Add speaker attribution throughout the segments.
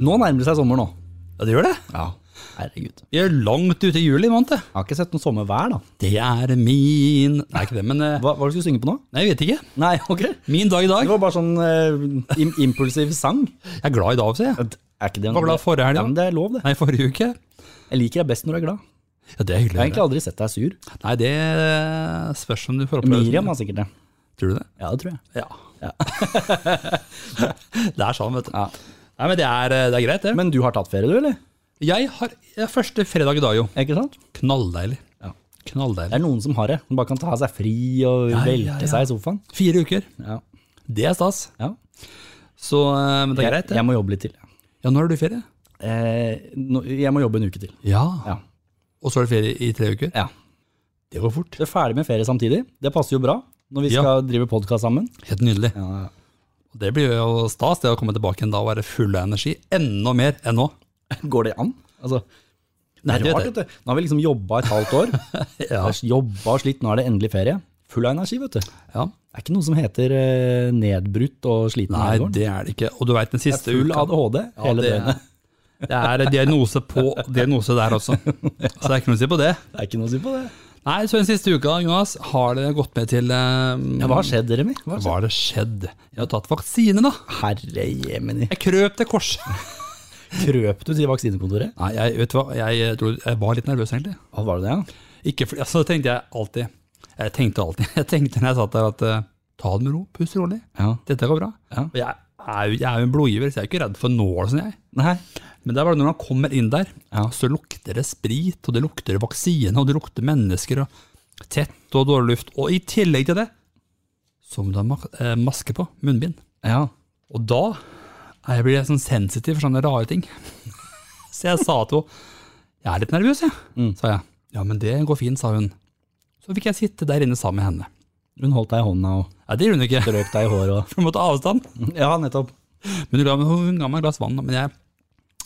Speaker 1: Nå nærmer det seg sommer nå.
Speaker 2: Ja, det gjør det.
Speaker 1: Ja. Herregud.
Speaker 2: Vi er langt ute i juli måned. det.
Speaker 1: Jeg har ikke sett noe sommervær, da.
Speaker 2: Det er min Nei, ikke det, men eh,
Speaker 1: Hva, hva var det du skulle synge på nå?
Speaker 2: Nei, jeg vet ikke.
Speaker 1: Nei, ok.
Speaker 2: Min dag i
Speaker 1: Det
Speaker 2: dag.
Speaker 1: var bare sånn eh, im impulsiv sang.
Speaker 2: Jeg er glad i dag, sier jeg.
Speaker 1: Er ikke det en
Speaker 2: Hva ble det forrige helg, da?
Speaker 1: Ja, men det er lov, det.
Speaker 2: Nei, forrige uke.
Speaker 1: Jeg liker deg best når du er glad.
Speaker 2: Ja,
Speaker 1: Jeg
Speaker 2: det er
Speaker 1: har
Speaker 2: hyggelig.
Speaker 1: egentlig aldri sett deg sur.
Speaker 2: Nei, det eh, spørs om du får oppleve
Speaker 1: Miriam har sikkert det.
Speaker 2: Tror du det?
Speaker 1: Ja, det tror jeg.
Speaker 2: Ja. det er sånn, vet du. Nei, men det er, eh, det er greit, det.
Speaker 1: Men du har tatt ferie, du, eller?
Speaker 2: jeg har ja, første fredag i dag, jo.
Speaker 1: Ikke sant?
Speaker 2: Knalldeilig.
Speaker 1: Ja. Det
Speaker 2: Knalldeilig.
Speaker 1: er noen som har det. Som bare kan ta seg fri og
Speaker 2: Ja,
Speaker 1: velte
Speaker 2: ja, ja.
Speaker 1: seg i sofaen.
Speaker 2: Fire uker.
Speaker 1: Ja.
Speaker 2: Det er stas.
Speaker 1: ja.
Speaker 2: Så eh, men det er
Speaker 1: Jeg,
Speaker 2: greit, det.
Speaker 1: jeg må jobbe litt til.
Speaker 2: Ja, nå har du ferie.
Speaker 1: Eh, nå- jeg må jobbe en uke til.
Speaker 2: Ja.
Speaker 1: Ja.
Speaker 2: Og så er det ferie i tre uker.
Speaker 1: Ja.
Speaker 2: Det går fort.
Speaker 1: Du er ferdig med ferie samtidig. Det passer jo bra når vi
Speaker 2: Ja.
Speaker 1: skal drive podkast sammen.
Speaker 2: Helt nydelig.
Speaker 1: Ja,
Speaker 2: Og Det blir jo stas, det å komme tilbake igjen da og være full av energi. Enda mer enn nå.
Speaker 1: Går det an? Altså, det
Speaker 2: Nei,
Speaker 1: er
Speaker 2: det
Speaker 1: rart,
Speaker 2: vet
Speaker 1: vet du. Nå har vi liksom jobba et halvt år.
Speaker 2: Ja.
Speaker 1: Jobba og slitt, nå er det endelig ferie. Full av energi, vet du.
Speaker 2: ja.
Speaker 1: Det er ikke noe som heter eh, nedbrutt og sliten
Speaker 2: Nei,
Speaker 1: herregård.
Speaker 2: det er det ikke. Og du veit den
Speaker 1: Det er
Speaker 2: siste
Speaker 1: full
Speaker 2: uka
Speaker 1: ADHD
Speaker 2: Ja,
Speaker 1: hele
Speaker 2: det,
Speaker 1: døgnet.
Speaker 2: det er diagnose på diagnose der også. Så det er ikke noe å si på det.
Speaker 1: Det er ikke noe å si på det.
Speaker 2: Nei, så den siste uka, Jonas, har det gått med til eh,
Speaker 1: Ja, hva har skjedd, Remi? Hva har skjedd?
Speaker 2: Hva har det skjedd? Jeg har tatt vaksine, da.
Speaker 1: Herre jemini.
Speaker 2: Jeg krøp til korset.
Speaker 1: Krøp du til vaksinekontoret?
Speaker 2: Nei, jeg, vet du hva? Jeg, eh, tror, jeg var litt nervøs, egentlig.
Speaker 1: Hva var det, det,
Speaker 2: Ikke fordi, altså, tenkte jeg alltid Jeg tenkte alltid Jeg tenkte når jeg satt der at eh, Ta det med ro, pust rolig.
Speaker 1: ja? ja?
Speaker 2: Dette går bra.
Speaker 1: Ja.
Speaker 2: Og jeg er, jo, jeg er jo en blodgiver, så jeg er jo ikke redd for nål. Sånn jeg.
Speaker 1: Nei.
Speaker 2: Men det er bare når man kommer inn der,
Speaker 1: Ja.
Speaker 2: så lukter det sprit, og det lukter vaksine, og det lukter mennesker, og tett og dårlig luft. Og i tillegg til det, så må du ha mak- eh, maske på, munnbind.
Speaker 1: Ja.
Speaker 2: Og da er jeg blir jeg sånn sensitiv for sånne rare ting. Så jeg sa til henne, jeg er litt nervøs, jeg,
Speaker 1: Mm.
Speaker 2: sa jeg. Ja, men det går fint, sa hun. Så fikk jeg sitte der inne sammen med henne.
Speaker 1: Hun holdt deg i hånda og
Speaker 2: Nei, det gjorde hun ikke,
Speaker 1: strøk deg i håret og
Speaker 2: for hun måtte ha avstand.
Speaker 1: Ja, nettopp.
Speaker 2: Men hun ga, meg- hun ga meg et glass vann, da, men jeg,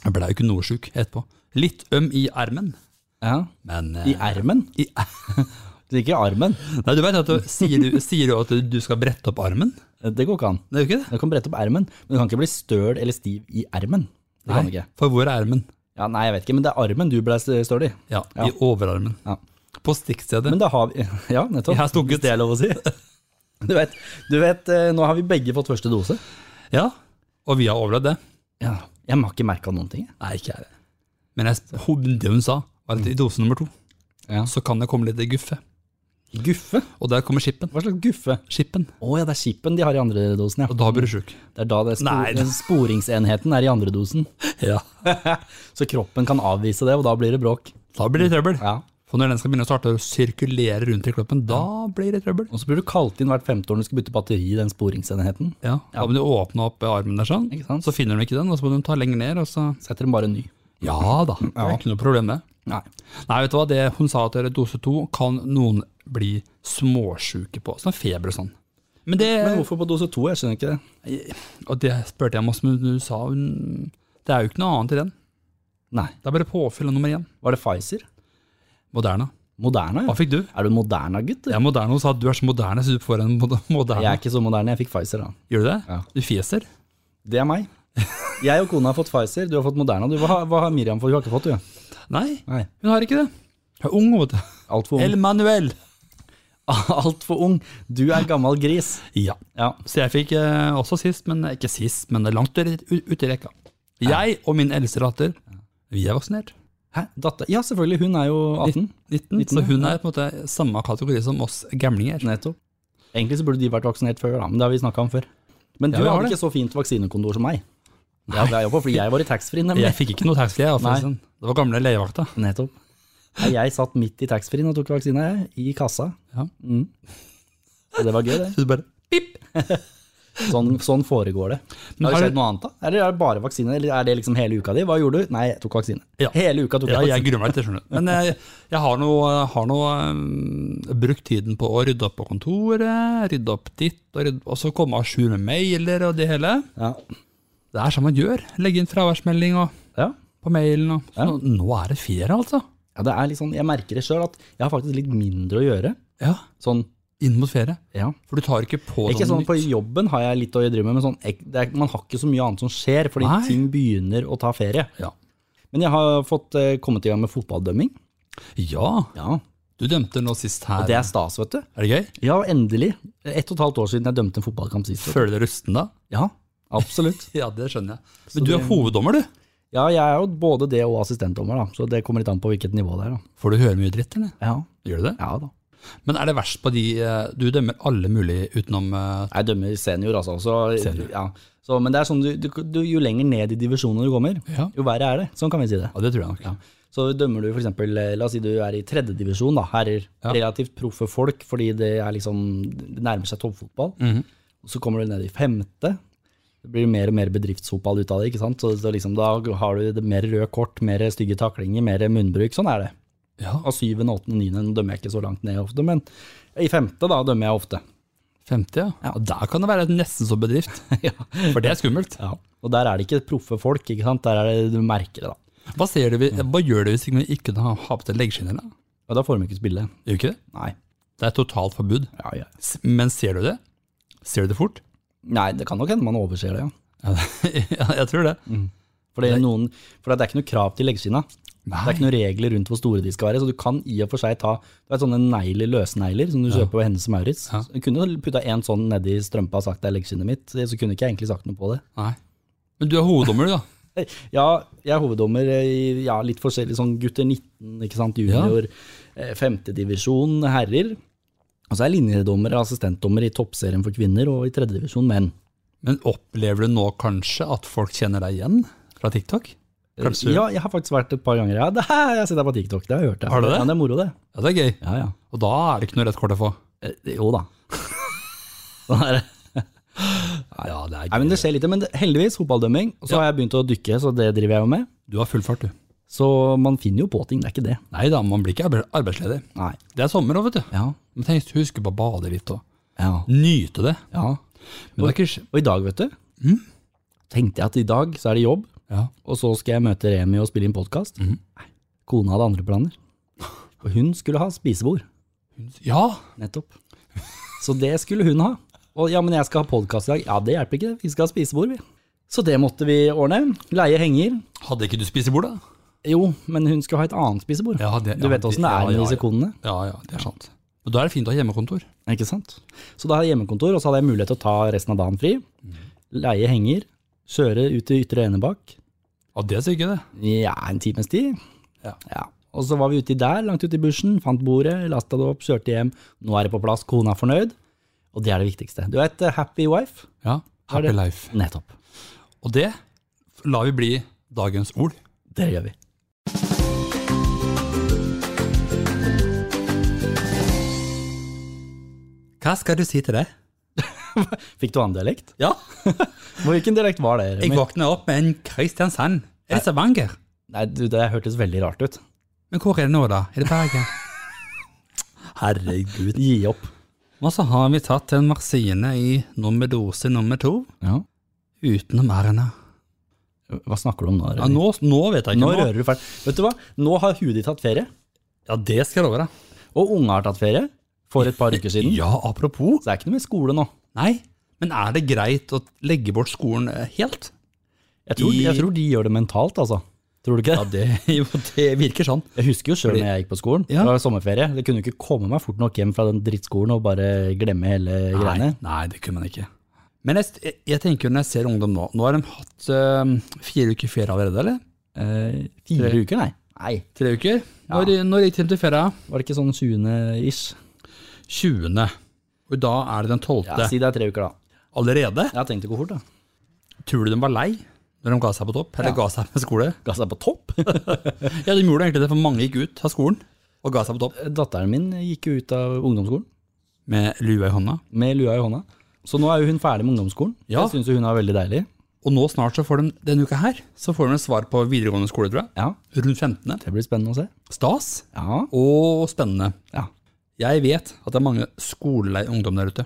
Speaker 2: jeg ble jo ikke noe syk etterpå. Litt øm i armen,
Speaker 1: Ja.
Speaker 2: men... eh,
Speaker 1: I ermen?
Speaker 2: i-
Speaker 1: Det er ikke armen.
Speaker 2: Nei, du vet at du, sier, du, sier du at du skal brette opp armen?
Speaker 1: Det går ikke an.
Speaker 2: Det er jo ikke det.
Speaker 1: Du kan brette opp ermen, men du kan ikke bli støl eller stiv i ermen. Det kan du ikke.
Speaker 2: For hvor er armen?
Speaker 1: Ja, nei, jeg vet ikke, men det er armen du ble støl i.
Speaker 2: Ja,
Speaker 1: Ja.
Speaker 2: i overarmen.
Speaker 1: Ja.
Speaker 2: På stikkstedet.
Speaker 1: Men da har vi Ja, nettopp.
Speaker 2: Jeg har stukket.
Speaker 1: Hvis det er lov å si. Du vet, du vet, eh, nå har vi begge fått første dose.
Speaker 2: ja, og vi har overlevd det.
Speaker 1: Ja. Jeg har ikke merka noen ting. jeg.
Speaker 2: Nei, ikke jeg. Men jeg, sp- hun, det hun sa, var at i dose nummer to,
Speaker 1: Ja.
Speaker 2: så kan det komme litt guffe.
Speaker 1: Guffe?
Speaker 2: Og der kommer skippen.
Speaker 1: Hva slags guffe?
Speaker 2: Skippen.
Speaker 1: Å ja, det er chipen de har i andre dosen, ja.
Speaker 2: Og da blir du sjuk.
Speaker 1: Det er da det er
Speaker 2: Nei,
Speaker 1: spor
Speaker 2: det-
Speaker 1: sporingsenheten er i andre dosen.
Speaker 2: Ja.
Speaker 1: Så kroppen kan avvise det, og da blir det bråk.
Speaker 2: Da blir det trøbbel.
Speaker 1: Ja.
Speaker 2: For når den skal begynne å starte å sirkulere rundt i kroppen, da blir det trøbbel.
Speaker 1: Og så blir du kalt inn hvert femte år når du skal bytte batteri i den sporingsenheten.
Speaker 2: Ja, Da må du åpne opp armen der sånn,
Speaker 1: Ikke sant?
Speaker 2: så finner de ikke den, og så må de ta lenger ned, og så
Speaker 1: Setter dem bare en ny.
Speaker 2: Ja da, det er ikke noe problem med.
Speaker 1: Nei.
Speaker 2: Nei, vet du hva, det hun sa at dose to kan noen bli småsjuke på, sånn feber og sånn. Men det,
Speaker 1: Men hvorfor på dose to? Jeg skjønner ikke det.
Speaker 2: og det spurte jeg om også, men du sa hun, det er jo ikke noe annet i den.
Speaker 1: Nei.
Speaker 2: Det er bare påfyll av nummer én.
Speaker 1: Var det Pfizer?
Speaker 2: Moderna.
Speaker 1: Moderna,
Speaker 2: Hva
Speaker 1: ja.
Speaker 2: fikk du?
Speaker 1: Er du moderna, gutt?
Speaker 2: Jeg er moderne, hun sa at du er så moderne, så du får en mod-
Speaker 1: Jeg
Speaker 2: moderne.
Speaker 1: er ikke så moderne, jeg fikk Pfizer da.
Speaker 2: Gjør du det?
Speaker 1: Ja.
Speaker 2: Du fjeser?
Speaker 1: Det er meg. Jeg og kona har fått Pfizer, du har fått Moderna. Du, hva, har- hva har Miriam fått? Hun har ikke fått, du.
Speaker 2: Nei,
Speaker 1: Nei.
Speaker 2: hun har ikke det. Hun er ung, vet du.
Speaker 1: Altfor ung.
Speaker 2: El Manuel.
Speaker 1: Altfor ung. Du er gammel gris.
Speaker 2: Ja.
Speaker 1: Ja.
Speaker 2: Så jeg fikk eh, også sist, men ikke sist, men langt ut- ute i rekka. Jeg og min eldste datter, vi er vaksinert.
Speaker 1: Hæ? Datter? Ja, selvfølgelig. Hun er jo 18.
Speaker 2: 19, så hun er på en måte samme kategori som oss gamlinger.
Speaker 1: Nettopp. Egentlig så burde de vært vaksinert før, da, men det har vi snakka om før. Men du
Speaker 2: Ja, vi har
Speaker 1: hadde
Speaker 2: det.
Speaker 1: ikke så fint vaksinekondor som meg. Det hadde jeg jobbet på, fordi jeg var i taxfree, nemlig.
Speaker 2: Jeg fikk ikke noe taxfree, jeg, forresten. Det var gamle leievakta.
Speaker 1: Nettopp. Nei, jeg satt midt i taxfree-en og tok vaksina, jeg. I kassa.
Speaker 2: Ja.
Speaker 1: Mm. Så det var gøy, det.
Speaker 2: Så du bare pip!
Speaker 1: Sånn, sånn foregår det.
Speaker 2: Men
Speaker 1: har det
Speaker 2: har du-
Speaker 1: skjedd noe annet, da? Eller er det bare vaksine? Eller er det liksom hele uka di? Hva gjorde du? Nei, jeg tok vaksine.
Speaker 2: Ja.
Speaker 1: Hele uka tok
Speaker 2: Ja,
Speaker 1: jeg
Speaker 2: jeg
Speaker 1: vaksine.
Speaker 2: gruer meg litt, det skjønner du. Men jeg, jeg har nå eh, har nå, um, brukt tiden på å rydde opp på kontoret, rydde opp ditt, og, rydde, og så komme à jour med mailer og det hele.
Speaker 1: Ja.
Speaker 2: Det er sånn man gjør. Legge inn fraværsmelding og,
Speaker 1: Ja.
Speaker 2: på mailen. Og, så, Nå er det ferie, altså.
Speaker 1: ja, det er litt sånn Jeg merker det sjøl at jeg har faktisk litt mindre å gjøre.
Speaker 2: Ja.
Speaker 1: Sånn
Speaker 2: inn mot ferie.
Speaker 1: Ja.
Speaker 2: For du tar ikke på
Speaker 1: Ikke sånn,
Speaker 2: nytt.
Speaker 1: På jobben har jeg litt å drive med, men sånn, ek- det er, man har ikke så mye annet som skjer, fordi
Speaker 2: Nei.
Speaker 1: ting begynner å ta ferie.
Speaker 2: Ja.
Speaker 1: Men jeg har fått eh, kommet i gang med fotballdømming.
Speaker 2: ja,
Speaker 1: Ja.
Speaker 2: du dømte nå sist her.
Speaker 1: Og det er stas, vet du.
Speaker 2: er det gøy?
Speaker 1: Ja, endelig. Ett og et halvt år siden jeg dømte en fotballkamp sist. vet du.
Speaker 2: Føler du deg rusten da?
Speaker 1: Ja, absolutt.
Speaker 2: Ja, det skjønner jeg. Men
Speaker 1: Så
Speaker 2: du
Speaker 1: det-
Speaker 2: er hoveddommer, du.
Speaker 1: Ja, jeg er jo både det og assistentdommer, da. så det kommer litt an på hvilket nivå det er. da.
Speaker 2: Får du høre mye dritt, eller?
Speaker 1: Ja,
Speaker 2: Gjør du det?
Speaker 1: ja da.
Speaker 2: Men er det verst på de eh, Du dømmer alle mulige utenom eh,
Speaker 1: Jeg dømmer senior, altså. Så,
Speaker 2: Senior.
Speaker 1: Ja. Så, men det er sånn, du, du, du, jo lenger ned i divisjonene du kommer,
Speaker 2: Ja.
Speaker 1: jo verre er det. Sånn kan vi si det.
Speaker 2: Ja, det tror jeg nok.
Speaker 1: Så dømmer du f.eks. La oss si du er i tredjedivisjon, da. Herrer.
Speaker 2: Ja.
Speaker 1: Relativt proffe folk, fordi det, er liksom, det nærmer seg toppfotball.
Speaker 2: Mhm.
Speaker 1: Så kommer du ned i femte. Det blir mer og mer bedriftsfotball ut av det. ikke sant? Så, så liksom, da har du det mer røde kort, mer stygge taklinger, mer munnbruk. Sånn er det.
Speaker 2: Ja,
Speaker 1: Av syvende, åttende, niende dømmer jeg ikke så langt ned ofte, men i femte da dømmer jeg ofte.
Speaker 2: 50, ja. Og Der kan det være et nesten som bedrift. For det er skummelt.
Speaker 1: Og der er det ikke proffe folk, ikke sant? der er det du merker det. da.
Speaker 2: Hva, ser du, vi- hva gjør du hvis vi ikke har har på deg leggskinner? da?
Speaker 1: Og da får de ikke spille.
Speaker 2: Gjør du ikke det?
Speaker 1: Nei.
Speaker 2: Det er totalt forbud.
Speaker 1: Ja, ja.
Speaker 2: S- Men ser du det? Ser du det fort?
Speaker 1: Nei, det kan nok hende man overser det, ja.
Speaker 2: Ja, det- ja, jeg tror det.
Speaker 1: For det er, noen, for det er ikke noe krav til leggskinna. Det er
Speaker 2: Nei.
Speaker 1: ikke noen regler rundt hvor store de skal være, så du kan i og for seg ta det er sånne negler, løsnegler som du kjøper på Hennes og Maurits.
Speaker 2: Ja.
Speaker 1: Så Du kunne jo putta en sånn nedi strømpa og sagt det er leggskinnet mitt, så kunne ikke jeg egentlig sagt noe på det.
Speaker 2: Nei. Men du er hoveddommer, du, da.
Speaker 1: Ja, jeg er hoveddommer i ja, litt forskjellig, sånn gutter 19, ikke sant, junior, eh, femtedivisjon, herrer. Og så er jeg linjedommer og assistentdommer i toppserien for kvinner og i tredjedivisjon menn.
Speaker 2: Men opplever du nå kanskje at folk kjenner deg igjen fra TikTok? Kanskje.
Speaker 1: Ja, jeg har faktisk vært et par ganger. Ja, det her, jeg har sett deg på TikTok, det har jeg hørt.
Speaker 2: Har du det?
Speaker 1: Ja, det er moro det.
Speaker 2: Ja, det er gøy.
Speaker 1: Ja, ja.
Speaker 2: Og da er det ikke noe rett kort å få.
Speaker 1: Eh, jo da. sånn er det.
Speaker 2: Ja, det er
Speaker 1: Nei, men
Speaker 2: gøy.
Speaker 1: det skjer litt, men det- heldigvis fotballdømming. Og så
Speaker 2: Ja.
Speaker 1: har jeg begynt å dykke, så det driver jeg jo med.
Speaker 2: Du har full fart, du.
Speaker 1: Så man finner jo på ting, det er ikke det.
Speaker 2: Nei da, man blir ikke arbe- arbeidsledig.
Speaker 1: Nei.
Speaker 2: Det er sommer òg, vet du.
Speaker 1: Ja.
Speaker 2: Men tenk, husk på å bade litt og
Speaker 1: Ja.
Speaker 2: nyte det.
Speaker 1: ja.
Speaker 2: Men det er ikke
Speaker 1: Og Mm? i dag, vet du, tenkte jeg at i dag så er det jobb.
Speaker 2: Ja.
Speaker 1: og så skal jeg møte Remi og spille inn podkast. Kona hadde andre planer. Og hun skulle ha spisebord.
Speaker 2: ja.
Speaker 1: Nettopp. Så det skulle hun ha. Og ja, men jeg skal ha podkast i dag. Ja, det hjelper ikke, det. vi skal ha spisebord, vi. Så det måtte vi ordne. Leie henger.
Speaker 2: Hadde ikke du spisebord, da?
Speaker 1: Jo, men hun skulle ha et annet spisebord.
Speaker 2: Ja, det-
Speaker 1: du
Speaker 2: ja,
Speaker 1: vet åssen det
Speaker 2: ja,
Speaker 1: er med
Speaker 2: ja, ja.
Speaker 1: disse konene.
Speaker 2: Ja, ja, det er sant. Og da er det fint å ha hjemmekontor.
Speaker 1: Ikke sant? Så da hadde jeg hjemmekontor, og så hadde jeg mulighet til å ta resten av dagen fri.
Speaker 2: Mm.
Speaker 1: Leie henger. Kjøre ut til ytre enebakk.
Speaker 2: Ja, det sier ikke det.
Speaker 1: Ja, en times tid.
Speaker 2: Ja.
Speaker 1: Og så var vi uti der, langt ute i bushen, fant bordet, lasta det opp, kjørte hjem. Nå er det på plass, kona er fornøyd, og det er det viktigste. Du er et happy wife.
Speaker 2: Ja, Happy
Speaker 1: det-
Speaker 2: life.
Speaker 1: Nettopp.
Speaker 2: Og det lar vi bli dagens ord.
Speaker 1: Det gjør vi.
Speaker 2: Hva skal du si til det?
Speaker 1: Fikk du annen dialekt?
Speaker 2: Ja,
Speaker 1: Hvilken dialekt var det?
Speaker 2: jeg
Speaker 1: Remi?
Speaker 2: våkna opp med en Kristiansand. Er det Stavanger?
Speaker 1: Nei, du, det hørtes veldig rart ut.
Speaker 2: Men hvor er det nå, da? Er det Bergen? Herregud.
Speaker 1: Gi opp.
Speaker 2: Og så har vi tatt en marsine i nummer-dose nummer to utenom R-ene.
Speaker 1: Hva snakker du om nå?
Speaker 2: Ja,
Speaker 1: Remi?
Speaker 2: nå, nå vet jeg
Speaker 1: nå
Speaker 2: ikke.
Speaker 1: rører du ferdig. Vet du hva? Nå har huet ditt tatt ferie,
Speaker 2: Ja, det skal jeg love deg.
Speaker 1: og unga har tatt ferie for et par uker siden.
Speaker 2: Ja, apropos.
Speaker 1: Så det er ikke noe med skole nå.
Speaker 2: Nei, men er det greit å legge bort skolen eh, helt?
Speaker 1: Jeg tror,
Speaker 2: I-
Speaker 1: jeg tror de gjør det mentalt, altså. Tror du ikke det?
Speaker 2: det, jo, det virker sånn.
Speaker 1: Jeg husker jo sjøl
Speaker 2: Fordi-
Speaker 1: når jeg gikk på skolen.
Speaker 2: Ja.
Speaker 1: Det var sommerferie. Det kunne jo ikke komme meg fort nok hjem fra den drittskolen og bare glemme hele greiene.
Speaker 2: Nei, nei, det kunne man ikke. Men jeg, jeg, jeg tenker jo når jeg ser ungdom nå, nå har de hatt eh, fire uker ferie allerede, eller?
Speaker 1: Eh, fire
Speaker 2: Tre-
Speaker 1: uker, nei. Nei,
Speaker 2: Tre uker? Når, når gikk de til ferie?
Speaker 1: Var det ikke sånn 20.-ish?
Speaker 2: 20. Og da er det den 12.
Speaker 1: Ja, si det er tre uker, da.
Speaker 2: Allerede?
Speaker 1: Jeg har tenkt å gå fort, da.
Speaker 2: Tror du de var lei når de ga seg på topp, eller
Speaker 1: Ja.
Speaker 2: ga seg med skole?
Speaker 1: Ga seg på topp.
Speaker 2: Ja, de gjorde egentlig det, for mange gikk ut av skolen og ga seg på topp.
Speaker 1: Datteren min gikk jo ut av ungdomsskolen
Speaker 2: Med lua i hånda.
Speaker 1: med lua i hånda. Så nå er jo hun ferdig med ungdomsskolen.
Speaker 2: Ja.
Speaker 1: Jeg syns hun er veldig deilig.
Speaker 2: Og nå snart så får de, denne uka her, så får de et svar på videregående skole, tror jeg.
Speaker 1: Ja,
Speaker 2: Rundt 15.
Speaker 1: Det blir spennende å se.
Speaker 2: Stas
Speaker 1: Ja.
Speaker 2: og spennende.
Speaker 1: ja.
Speaker 2: Jeg vet at det er mange skolelei ungdom der ute.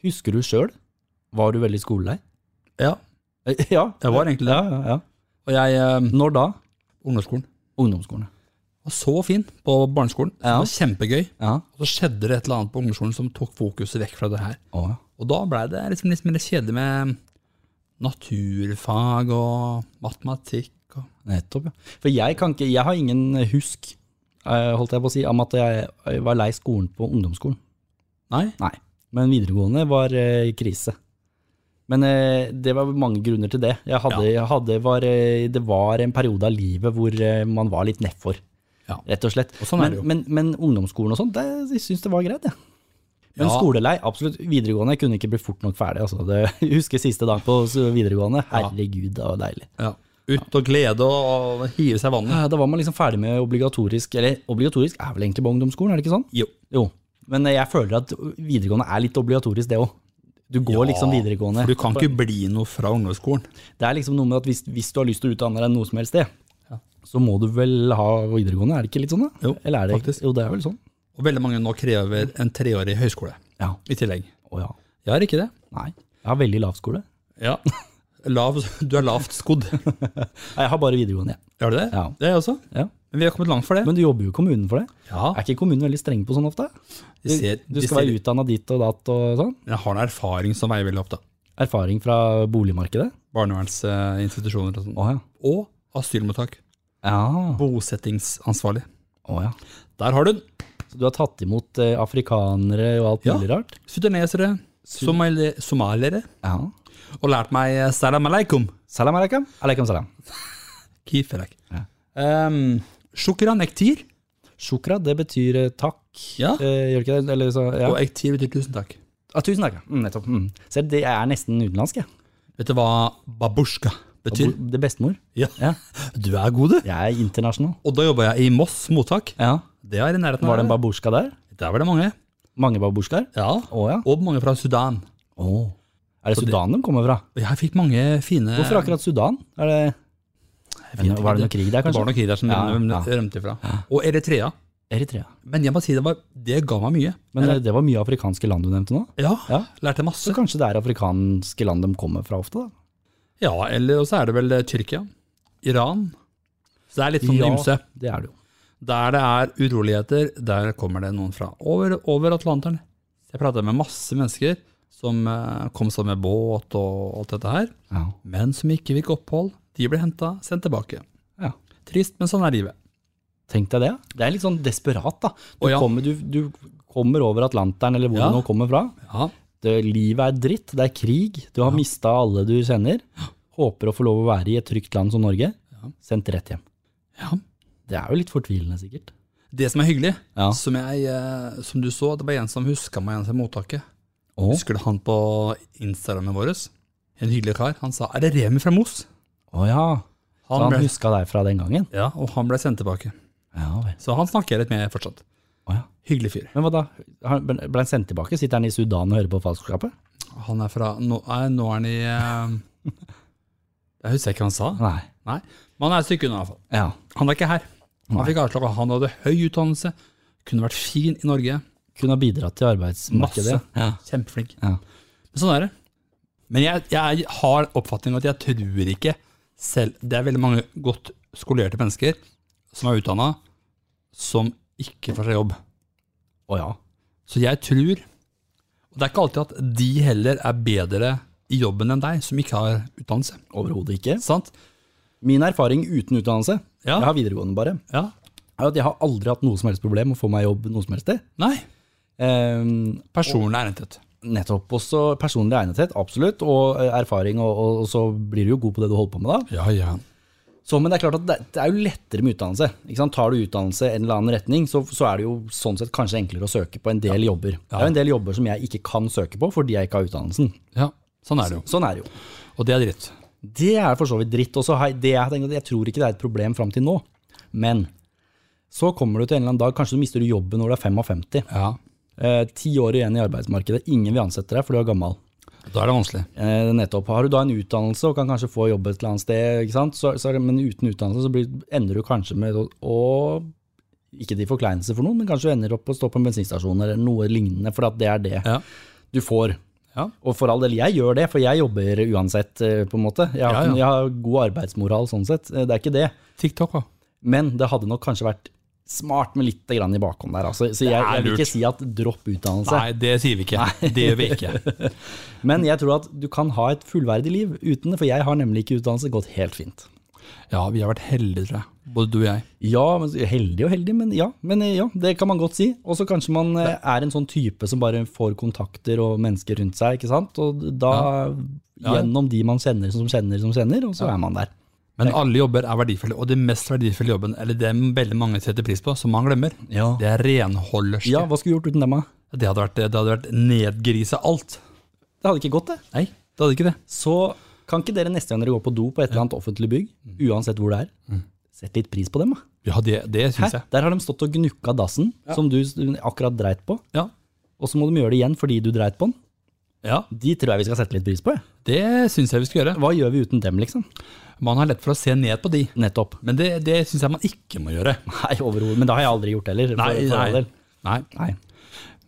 Speaker 1: Husker du sjøl? Var du veldig skolelei?
Speaker 2: Ja,
Speaker 1: Eh, Ja.
Speaker 2: jeg var egentlig det.
Speaker 1: ja, ja.
Speaker 2: Og jeg eh,
Speaker 1: Når da?
Speaker 2: Ungdomsskolen.
Speaker 1: Ungdomsskolen.
Speaker 2: var så fin på barneskolen. Det
Speaker 1: Ja.
Speaker 2: var kjempegøy.
Speaker 1: Ja.
Speaker 2: Og så skjedde det et eller annet på ungdomsskolen som tok fokuset vekk fra det her. Og da blei det liksom litt mer kjedelig med naturfag og matematikk og
Speaker 1: Nettopp, ja. For jeg, kan ikke, jeg har ingen husk, eh, holdt jeg på å si, om at jeg jeg var lei skolen på ungdomsskolen.
Speaker 2: Nei.
Speaker 1: Nei. Men videregående var eh, krise. Men eh, det var mange grunner til det. Jeg hadde, jeg hadde var, eh, det var en periode av livet hvor eh, man var litt nedfor,
Speaker 2: Ja.
Speaker 1: rett og slett.
Speaker 2: Og sånn er
Speaker 1: men,
Speaker 2: det jo.
Speaker 1: men, men ungdomsskolen og sånn, det jeg syns det var greit, jeg. Men
Speaker 2: Ja.
Speaker 1: skolelei, absolutt. Videregående jeg kunne ikke bli fort nok ferdig. Altså. Det, jeg husker siste dag på videregående. Herregud, det var deilig.
Speaker 2: Ja. Ut og glede og hive seg i vannet.
Speaker 1: Ja, Da var man liksom ferdig med obligatorisk, eller obligatorisk er vel egentlig på ungdomsskolen, er det ikke sånn?
Speaker 2: Jo.
Speaker 1: Jo, men jeg føler at videregående er litt obligatorisk det òg. Du går liksom videregående.
Speaker 2: For du kan ikke bli noe fra ungdomsskolen.
Speaker 1: Det er liksom noe med at hvis, hvis du har lyst til å utdanne deg noe som helst sted, så må du vel ha videregående, er det ikke litt sånn da?
Speaker 2: Jo,
Speaker 1: eller er det,
Speaker 2: faktisk.
Speaker 1: Jo, det er vel sånn.
Speaker 2: Og veldig mange nå krever en treårig høyskole
Speaker 1: Ja.
Speaker 2: i tillegg.
Speaker 1: Å ja.
Speaker 2: Jeg har ikke det.
Speaker 1: Nei. Jeg har veldig lav skole.
Speaker 2: Ja. Lav, du er lavt skodd.
Speaker 1: Nei, Jeg har bare videregående, jeg.
Speaker 2: Gjør du det?
Speaker 1: Ja.
Speaker 2: Det er jeg også.
Speaker 1: Ja.
Speaker 2: Men vi har kommet langt for det.
Speaker 1: Men du jobber jo i kommunen for det.
Speaker 2: ja.
Speaker 1: Er ikke kommunen veldig streng på sånn ofte? Du,
Speaker 2: De ser,
Speaker 1: du
Speaker 2: de
Speaker 1: skal
Speaker 2: ser,
Speaker 1: være utdanna ditt og datt og sånn.
Speaker 2: jeg har en erfaring som veier veldig opp, da.
Speaker 1: Erfaring fra boligmarkedet?
Speaker 2: Barnevernsinstitusjoner og sånn.
Speaker 1: Å ja.
Speaker 2: Og asylmottak.
Speaker 1: Ja.
Speaker 2: Bosettingsansvarlig.
Speaker 1: Å ja.
Speaker 2: Der har du den!
Speaker 1: Så du har tatt imot eh, afrikanere og alt
Speaker 2: Ja.
Speaker 1: mulig rart?
Speaker 2: Sudanesere, somali somaliere,
Speaker 1: Ja.
Speaker 2: og lært meg eh, salam aleikum.
Speaker 1: Salam alaikum. Alaikum salam.
Speaker 2: Kifelek.
Speaker 1: Ja.
Speaker 2: Um, Shukran ektir.
Speaker 1: Shukra, det betyr eh, takk.
Speaker 2: Ja.
Speaker 1: Eh, gjør ikke det? Eller så, ja.
Speaker 2: Og ektir betyr tusen takk.
Speaker 1: Ah, tusen takk. ja. Mm, nettopp. Mm. Se, det jeg er nesten utenlandsk, jeg.
Speaker 2: Vet du hva babushka betyr?
Speaker 1: Bo- Det er bestemor.
Speaker 2: Ja.
Speaker 1: Ja.
Speaker 2: Du er god, du.
Speaker 1: Jeg er internasjonal.
Speaker 2: Og da jobba jeg i Moss mottak.
Speaker 1: Ja.
Speaker 2: Det er i nærheten
Speaker 1: Var det en
Speaker 2: her.
Speaker 1: babusjka der?
Speaker 2: Der var det mange.
Speaker 1: Mange babusjkaer?
Speaker 2: Ja.
Speaker 1: Å ja.
Speaker 2: Og mange fra Sudan.
Speaker 1: Å. Er det Sudan de kommer fra?
Speaker 2: Og Jeg fikk mange fine
Speaker 1: Hvorfor akkurat Sudan? Er det,
Speaker 2: Eh. vet ikke.
Speaker 1: var det noe krig der,
Speaker 2: Det var
Speaker 1: kanskje?
Speaker 2: nok de der som
Speaker 1: Ja,
Speaker 2: rømte,
Speaker 1: ja.
Speaker 2: rømte fra. Og Eritrea.
Speaker 1: Eritrea.
Speaker 2: Men jeg må si det, var, det ga meg mye.
Speaker 1: Men eh, det var mye afrikanske land du nevnte nå.
Speaker 2: Ja,
Speaker 1: Ja.
Speaker 2: Lærte
Speaker 1: Så
Speaker 2: masse.
Speaker 1: kanskje det er afrikanske land de kommer fra ofte, da?
Speaker 2: Ja, eller og så er det vel eh, Tyrkia. Iran. Så det er litt sånn
Speaker 1: Ja,
Speaker 2: ymse.
Speaker 1: Det er det jo.
Speaker 2: Der det er uroligheter, der kommer det noen fra over, over Atlanteren. Jeg pratet med masse mennesker som eh, kom seg med båt og alt dette her,
Speaker 1: Ja.
Speaker 2: men som ikke fikk opphold. De ble henta, sendt tilbake.
Speaker 1: Ja.
Speaker 2: Trist, men sånn er livet.
Speaker 1: Tenk deg det. Det er litt sånn desperat, da. Du,
Speaker 2: Å, ja.
Speaker 1: kommer, du, du kommer over Atlanteren, eller hvor
Speaker 2: Ja.
Speaker 1: du nå kommer fra.
Speaker 2: Ja,
Speaker 1: Det, livet er dritt, det er krig. Du har mista alle du kjenner. Håper å få lov å være i et trygt land som Norge. Sendt rett hjem.
Speaker 2: ja.
Speaker 1: Det er jo litt fortvilende, sikkert.
Speaker 2: Det som er hyggelig,
Speaker 1: Ja.
Speaker 2: som, jeg, eh, som du så, det var en som huska meg igjen fra mottaket.
Speaker 1: Å,
Speaker 2: Husker du han på Instagramen vår? En hyggelig kar. Han sa 'Er det Remi fra Moss?'
Speaker 1: å ja. Så
Speaker 2: Han
Speaker 1: han
Speaker 2: ble,
Speaker 1: huska deg fra den gangen?
Speaker 2: ja, og han ble sendt tilbake.
Speaker 1: Ja vel.
Speaker 2: Så han snakker jeg litt med fortsatt.
Speaker 1: Å, ja.
Speaker 2: Hyggelig fyr.
Speaker 1: Men hva da? Han ble ble han sendt tilbake? Sitter han i Sudan og hører på falskskapet?
Speaker 2: Han er fra Nå, nei, nå er han i eh, Jeg husker ikke hva han sa.
Speaker 1: Nei.
Speaker 2: Nei. Men han er et stykke unna, iallfall.
Speaker 1: Ja.
Speaker 2: Han er ikke her. Han
Speaker 1: Nei.
Speaker 2: fikk avslag, og han hadde høy utdannelse. Kunne vært fin i Norge.
Speaker 1: Kunne ha bidratt til arbeidsmarkedet.
Speaker 2: Masse.
Speaker 1: Ja.
Speaker 2: Kjempeflink.
Speaker 1: Ja.
Speaker 2: Men sånn er det. Men jeg, jeg har oppfatning at jeg tror ikke selv Det er veldig mange godt skolerte mennesker som er utdanna, som ikke får seg jobb.
Speaker 1: Å ja.
Speaker 2: Så jeg tror Og det er ikke alltid at de heller er bedre i jobben enn deg, som ikke har utdannelse.
Speaker 1: Overhodet ikke.
Speaker 2: Sant?
Speaker 1: Min erfaring uten utdannelse,
Speaker 2: Ja.
Speaker 1: jeg har videregående bare,
Speaker 2: Ja.
Speaker 1: er at jeg har aldri hatt noe som helst problem å få meg jobb noe som helst sted.
Speaker 2: Nei.
Speaker 1: Ehm,
Speaker 2: Personlig ærendthet.
Speaker 1: nettopp. Også personlig egnethet, absolutt, og eh, erfaring, og, og, og så blir du jo god på det du holder på med da.
Speaker 2: Ja, ja.
Speaker 1: Så, men det er klart at det, det er jo lettere med utdannelse. Ikke sant? Tar du utdannelse i en eller annen retning, så, så er det jo sånn sett kanskje enklere å søke på en del jobber. Det er jo en del jobber som jeg ikke kan søke på fordi jeg ikke har utdannelsen.
Speaker 2: ja. Sånn er det jo.
Speaker 1: Sånn er det jo.
Speaker 2: Og det er dritt.
Speaker 1: Det er for så vidt dritt. Og så har jeg- det jeg, tenker, at jeg tror ikke det er et problem fram til nå. Men så kommer du til en eller annen dag, kanskje du mister du jobben når du er 55.
Speaker 2: Ja.
Speaker 1: Eh, Ti år igjen i arbeidsmarkedet. Ingen vil ansette deg, for du er gammel.
Speaker 2: Da er det vanskelig.
Speaker 1: Eh, nettopp. Har du da en utdannelse og kan kanskje få jobb et eller annet sted, ikke sant? Så, så, er det- men uten utdannelse så blir, ender du kanskje med å- å Ikke til forkleinelse for noen, men kanskje du ender opp på å stå på en bensinstasjon eller noe lignende, for at det er det
Speaker 2: Ja.
Speaker 1: du får.
Speaker 2: Ja.
Speaker 1: Og for all del, jeg gjør det, for jeg jobber uansett, eh, på en måte. Jeg har,
Speaker 2: Ja, ja.
Speaker 1: ikke- Jeg har god arbeidsmoral sånn sett, eh, det er ikke det.
Speaker 2: TikTok, da.
Speaker 1: Men det hadde nok kanskje vært smart med litt grann i bakhånd der. Altså. Så jeg,
Speaker 2: er
Speaker 1: jeg vil
Speaker 2: lurt.
Speaker 1: ikke si at dropp utdannelse.
Speaker 2: Nei, det sier vi ikke. Det gjør vi ikke.
Speaker 1: Men jeg tror at du kan ha et fullverdig liv uten det, for jeg har nemlig ikke utdannelse gått helt fint.
Speaker 2: Ja, vi har vært heldige, tror jeg. Både du og jeg.
Speaker 1: Ja, men heldig og heldig, men ja, men eh, ja, det kan man godt si. Og så kanskje man eh, er en sånn type som bare får kontakter og mennesker rundt seg, ikke sant? Og da
Speaker 2: Ja.
Speaker 1: gjennom de man kjenner som kjenner som kjenner, og så er man der.
Speaker 2: Men alle jobber er verdifulle, og det mest verdifulle jobben, eller det veldig mange setter pris på, som man glemmer,
Speaker 1: Ja.
Speaker 2: det er renholderske.
Speaker 1: Ja, hva skulle du gjort uten dem, da?
Speaker 2: Det hadde vært, det hadde vært nedgrise alt.
Speaker 1: Det hadde ikke gått, det.
Speaker 2: Nei, det hadde ikke det.
Speaker 1: Så kan ikke dere neste gang dere går på do på et eller annet offentlig bygg,
Speaker 2: Mm.
Speaker 1: uansett hvor det er, sett litt pris på dem, da.
Speaker 2: Ja, det, det syns
Speaker 1: Her,
Speaker 2: jeg.
Speaker 1: der har de stått og gnukka dassen som du s- akkurat dreit på,
Speaker 2: Ja.
Speaker 1: og så må de gjøre det igjen fordi du dreit på den.
Speaker 2: ja,
Speaker 1: De tror jeg vi skal sette litt pris på. jeg.
Speaker 2: det syns jeg vi skal gjøre.
Speaker 1: Hva gjør vi uten dem, liksom?
Speaker 2: Man har lett for å se ned på de,
Speaker 1: Nettopp.
Speaker 2: men det, det syns jeg man ikke må gjøre.
Speaker 1: Nei, overhodet. Men det har jeg aldri gjort heller. for-
Speaker 2: Nei,
Speaker 1: for all
Speaker 2: nei.
Speaker 1: del.
Speaker 2: nei.
Speaker 1: nei.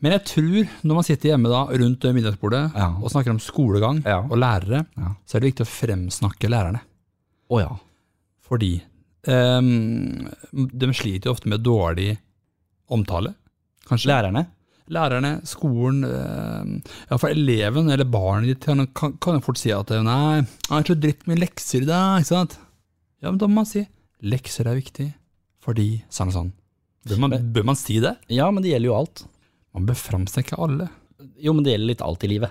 Speaker 2: Men jeg tror når man sitter hjemme da, rundt middagsbordet
Speaker 1: Ja.
Speaker 2: og snakker om skolegang
Speaker 1: Ja.
Speaker 2: og lærere,
Speaker 1: Ja.
Speaker 2: så er det viktig å fremsnakke lærerne.
Speaker 1: Å ja.
Speaker 2: Fordi ehm, de sliter jo ofte med dårlig omtale. Kanskje
Speaker 1: Lærerne?
Speaker 2: lærerne, skolen ehm, Ja, for eleven eller barnet ditt kan- kan kan jo fort si at nei, jeg er så dritt med lekser i dag, ikke sant? Ja, men da må man si lekser er viktig, fordi sånn og sånn. Bør man, bør man si det?
Speaker 1: Ja, men det gjelder jo alt.
Speaker 2: Man bør framsnakke alle.
Speaker 1: Jo, men det gjelder litt alt i livet.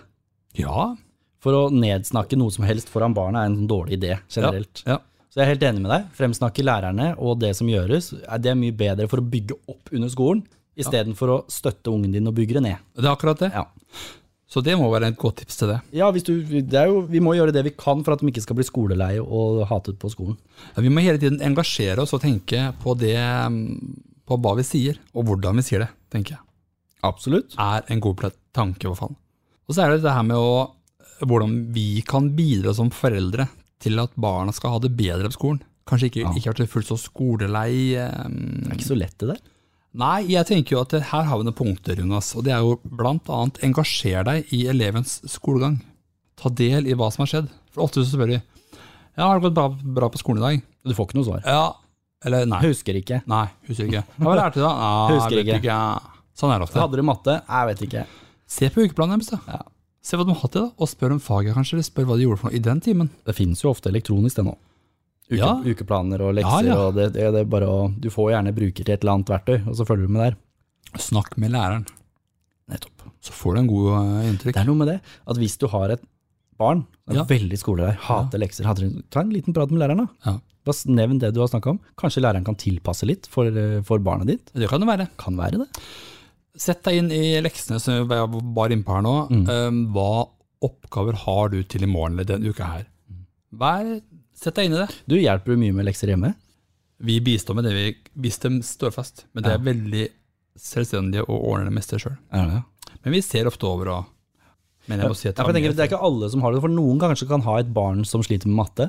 Speaker 2: Ja,
Speaker 1: For å nedsnakke noe som helst foran barna er en sånn dårlig idé, generelt.
Speaker 2: Ja, ja.
Speaker 1: Så jeg er helt enig med deg. Fremsnakke lærerne og det som gjøres, er- det er mye bedre for å bygge opp under skolen, istedenfor å støtte ungen din og bygge det ned.
Speaker 2: Det er akkurat det.
Speaker 1: Ja.
Speaker 2: Så det må være et godt tips til det.
Speaker 1: Ja, hvis du, det er jo, Vi må gjøre det vi kan for at de ikke skal bli skoleleie og hatet på skolen.
Speaker 2: Ja, Vi må hele tiden engasjere oss og tenke på det mm, på hva vi sier, og hvordan vi sier det, tenker jeg.
Speaker 1: Absolutt.
Speaker 2: Er en god pla- tanke, i hvert fall. Og så er det det her med å, hvordan vi kan bidra som foreldre til at barna skal ha det bedre på skolen. Kanskje ikke, ikke vært fullt så skolelei. eh,
Speaker 1: Det er ikke så lett, det der.
Speaker 2: Nei, jeg tenker jo at det- her har vi noen punkter, Jonas. Og det er jo blant annet engasjer deg i elevens skolegang. Ta del i hva som har skjedd. For ofte så spør de ja, har det gått bra, bra på skolen i dag?
Speaker 1: Du får ikke noe svar.
Speaker 2: Ja, eller nei.
Speaker 1: Husker ikke.
Speaker 2: Nei, husker ikke. Ja, Hva lærte du da? Nei,
Speaker 1: Husker
Speaker 2: vet
Speaker 1: ikke.
Speaker 2: Sånn er det ofte.
Speaker 1: Hadde du matte? Jeg vet ikke.
Speaker 2: Se på ukeplanen deres, da.
Speaker 1: Ja.
Speaker 2: Se hva de har hatt i da, og spør om faget kanskje, eller spør hva de gjorde for noe i den timen.
Speaker 1: Det finnes jo ofte elektronisk det nå. Uke,
Speaker 2: Ja.
Speaker 1: Ukeplaner og lekser.
Speaker 2: Ja, ja.
Speaker 1: og det, det, det er bare å, Du får gjerne bruker til et eller annet verktøy, og så følger du med der.
Speaker 2: Snakk med læreren,
Speaker 1: Nettopp.
Speaker 2: så får du en god eh, inntrykk.
Speaker 1: Det er noe med det at hvis du har et barn som er
Speaker 2: Ja.
Speaker 1: veldig skolelei, hater lekser, hater, ta en liten prat med læreren. da.
Speaker 2: Ja.
Speaker 1: Bare s- Nevn det du har snakka om. Kanskje læreren kan tilpasse litt for, eh, for barnet ditt.
Speaker 2: Det kan det være.
Speaker 1: Kan være det.
Speaker 2: Sett deg inn i leksene som jeg var inne på her nå.
Speaker 1: Mm.
Speaker 2: Eh, Hva oppgaver har du til i morgen eller den uka her? Vær, sett deg inn i det.
Speaker 1: Du hjelper jo mye med lekser hjemme.
Speaker 2: Vi bistår med det vi, hvis de står fast, men de er veldig selvstendige og ordner det meste sjøl.
Speaker 1: Er det?
Speaker 2: Men vi ser ofte over og Men jeg må si at
Speaker 1: Ja, for jeg tenker, det er ikke alle som har det, for noen kanskje kan ha et barn som sliter med matte,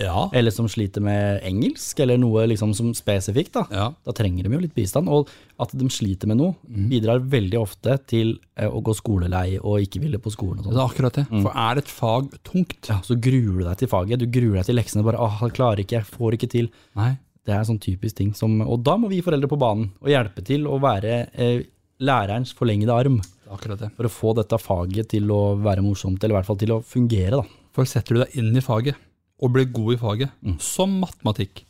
Speaker 2: ja,
Speaker 1: eller som sliter med engelsk, eller noe liksom som spesifikt. da.
Speaker 2: ja,
Speaker 1: Da trenger de jo litt bistand. Og at de sliter med noe, bidrar veldig ofte til eh, å gå skolelei og ikke ville på skolen. og
Speaker 2: det
Speaker 1: sånt.
Speaker 2: er akkurat
Speaker 1: Mm.
Speaker 2: det. For er et fag tungt?
Speaker 1: Så gruer du deg til faget, du gruer deg til leksene. bare, ah, jeg klarer ikke, jeg får ikke til.
Speaker 2: Nei.
Speaker 1: Det er sånn typisk ting som Og da må vi foreldre på banen og hjelpe til å være eh, lærerens forlengede arm.
Speaker 2: det er Akkurat det.
Speaker 1: For å få dette faget til å være morsomt, eller i hvert fall til å fungere. da.
Speaker 2: For setter du deg inn i faget, og blir god i faget,
Speaker 1: Mm.
Speaker 2: som matematikk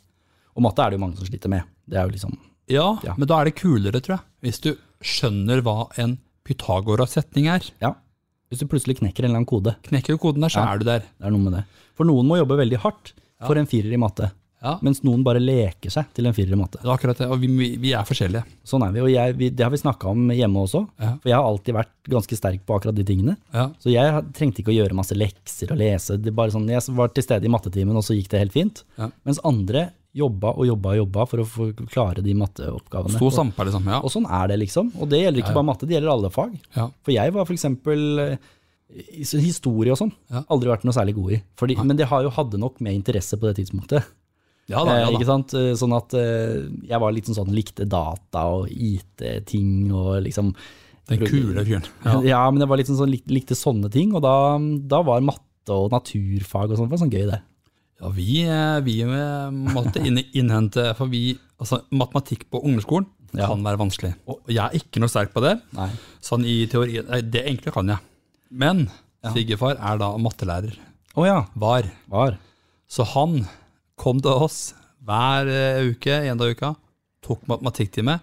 Speaker 1: Og matte er det jo mange som sliter med. Det er jo liksom
Speaker 2: ja,
Speaker 1: Ja.
Speaker 2: men da er det kulere, tror jeg. Hvis du skjønner hva en Pythagoras-setning er.
Speaker 1: Ja. Hvis du plutselig knekker en eller annen kode,
Speaker 2: Knekker du koden der, så er du der.
Speaker 1: det er noe med det. For noen må jobbe veldig hardt for en firer i matte.
Speaker 2: Ja.
Speaker 1: Mens noen bare leker seg til en firer i matte.
Speaker 2: Det er akkurat det. Og vi, vi, vi er forskjellige.
Speaker 1: Sånn er vi, og jeg, vi, det har vi snakka om hjemme også.
Speaker 2: Ja.
Speaker 1: For jeg har alltid vært ganske sterk på akkurat de tingene.
Speaker 2: Ja.
Speaker 1: Så jeg har- trengte ikke å gjøre masse lekser og lese. Det er bare sånn, jeg var til stede i mattetimen, og så gikk det helt fint.
Speaker 2: Ja.
Speaker 1: Mens andre jobba og jobba og jobba for å få klare de matteoppgavene.
Speaker 2: Stå sampa, liksom. Ja.
Speaker 1: Og sånn er det, liksom. Og det gjelder ikke bare matte, det gjelder alle fag.
Speaker 2: Ja.
Speaker 1: For jeg var f.eks. historie og sånn.
Speaker 2: Ja.
Speaker 1: Aldri vært noe særlig god i. Fordi, men det har jo hadde nok med interesse på det tidspunktet.
Speaker 2: ja da,
Speaker 1: Eh,
Speaker 2: ja
Speaker 1: Ikke
Speaker 2: da.
Speaker 1: sant? Eh, Sånn at eh, jeg var litt sånn likte data og IT-ting og liksom
Speaker 2: Den kule fyren.
Speaker 1: ja.
Speaker 2: Ja.
Speaker 1: men jeg var litt sånn, sånn lik- likte sånne ting, og da, da var matte og naturfag og sånt, det var sånn gøy det.
Speaker 2: Ja, vi, eh, vi eh, måtte inn- innhente For vi, altså matematikk på ungdomsskolen
Speaker 1: Ja.
Speaker 2: kan være vanskelig. Og jeg er ikke noe sterk på det.
Speaker 1: Nei.
Speaker 2: Sånn i teorien nei, Det enkle kan jeg. Men svigerfar er da mattelærer.
Speaker 1: Å ja.
Speaker 2: Var.
Speaker 1: Var.
Speaker 2: Så han kom til oss hver eh, uke, en dag i uka, tok matematikktime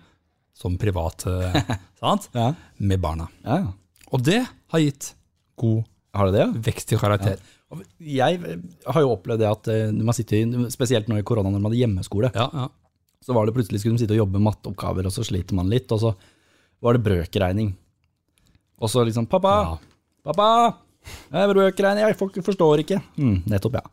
Speaker 2: som privat, eh, sant?
Speaker 1: Ja.
Speaker 2: med barna.
Speaker 1: ja.
Speaker 2: Og det har gitt god
Speaker 1: Har du det? ja?
Speaker 2: vekst i karakter.
Speaker 1: Jeg har jo opplevd det at eh, når man sitter, spesielt nå i korona, når man hadde hjemmeskole,
Speaker 2: Ja, ja.
Speaker 1: så var det plutselig skulle de sitte og jobbe med matteoppgaver, og så sliter man litt, og så var det brøkregning. Og så liksom 'Pappa!
Speaker 2: Ja.
Speaker 1: Pappa! Jeg er brøkregning! Jeg folk forstår ikke!' Mm, nettopp, ja.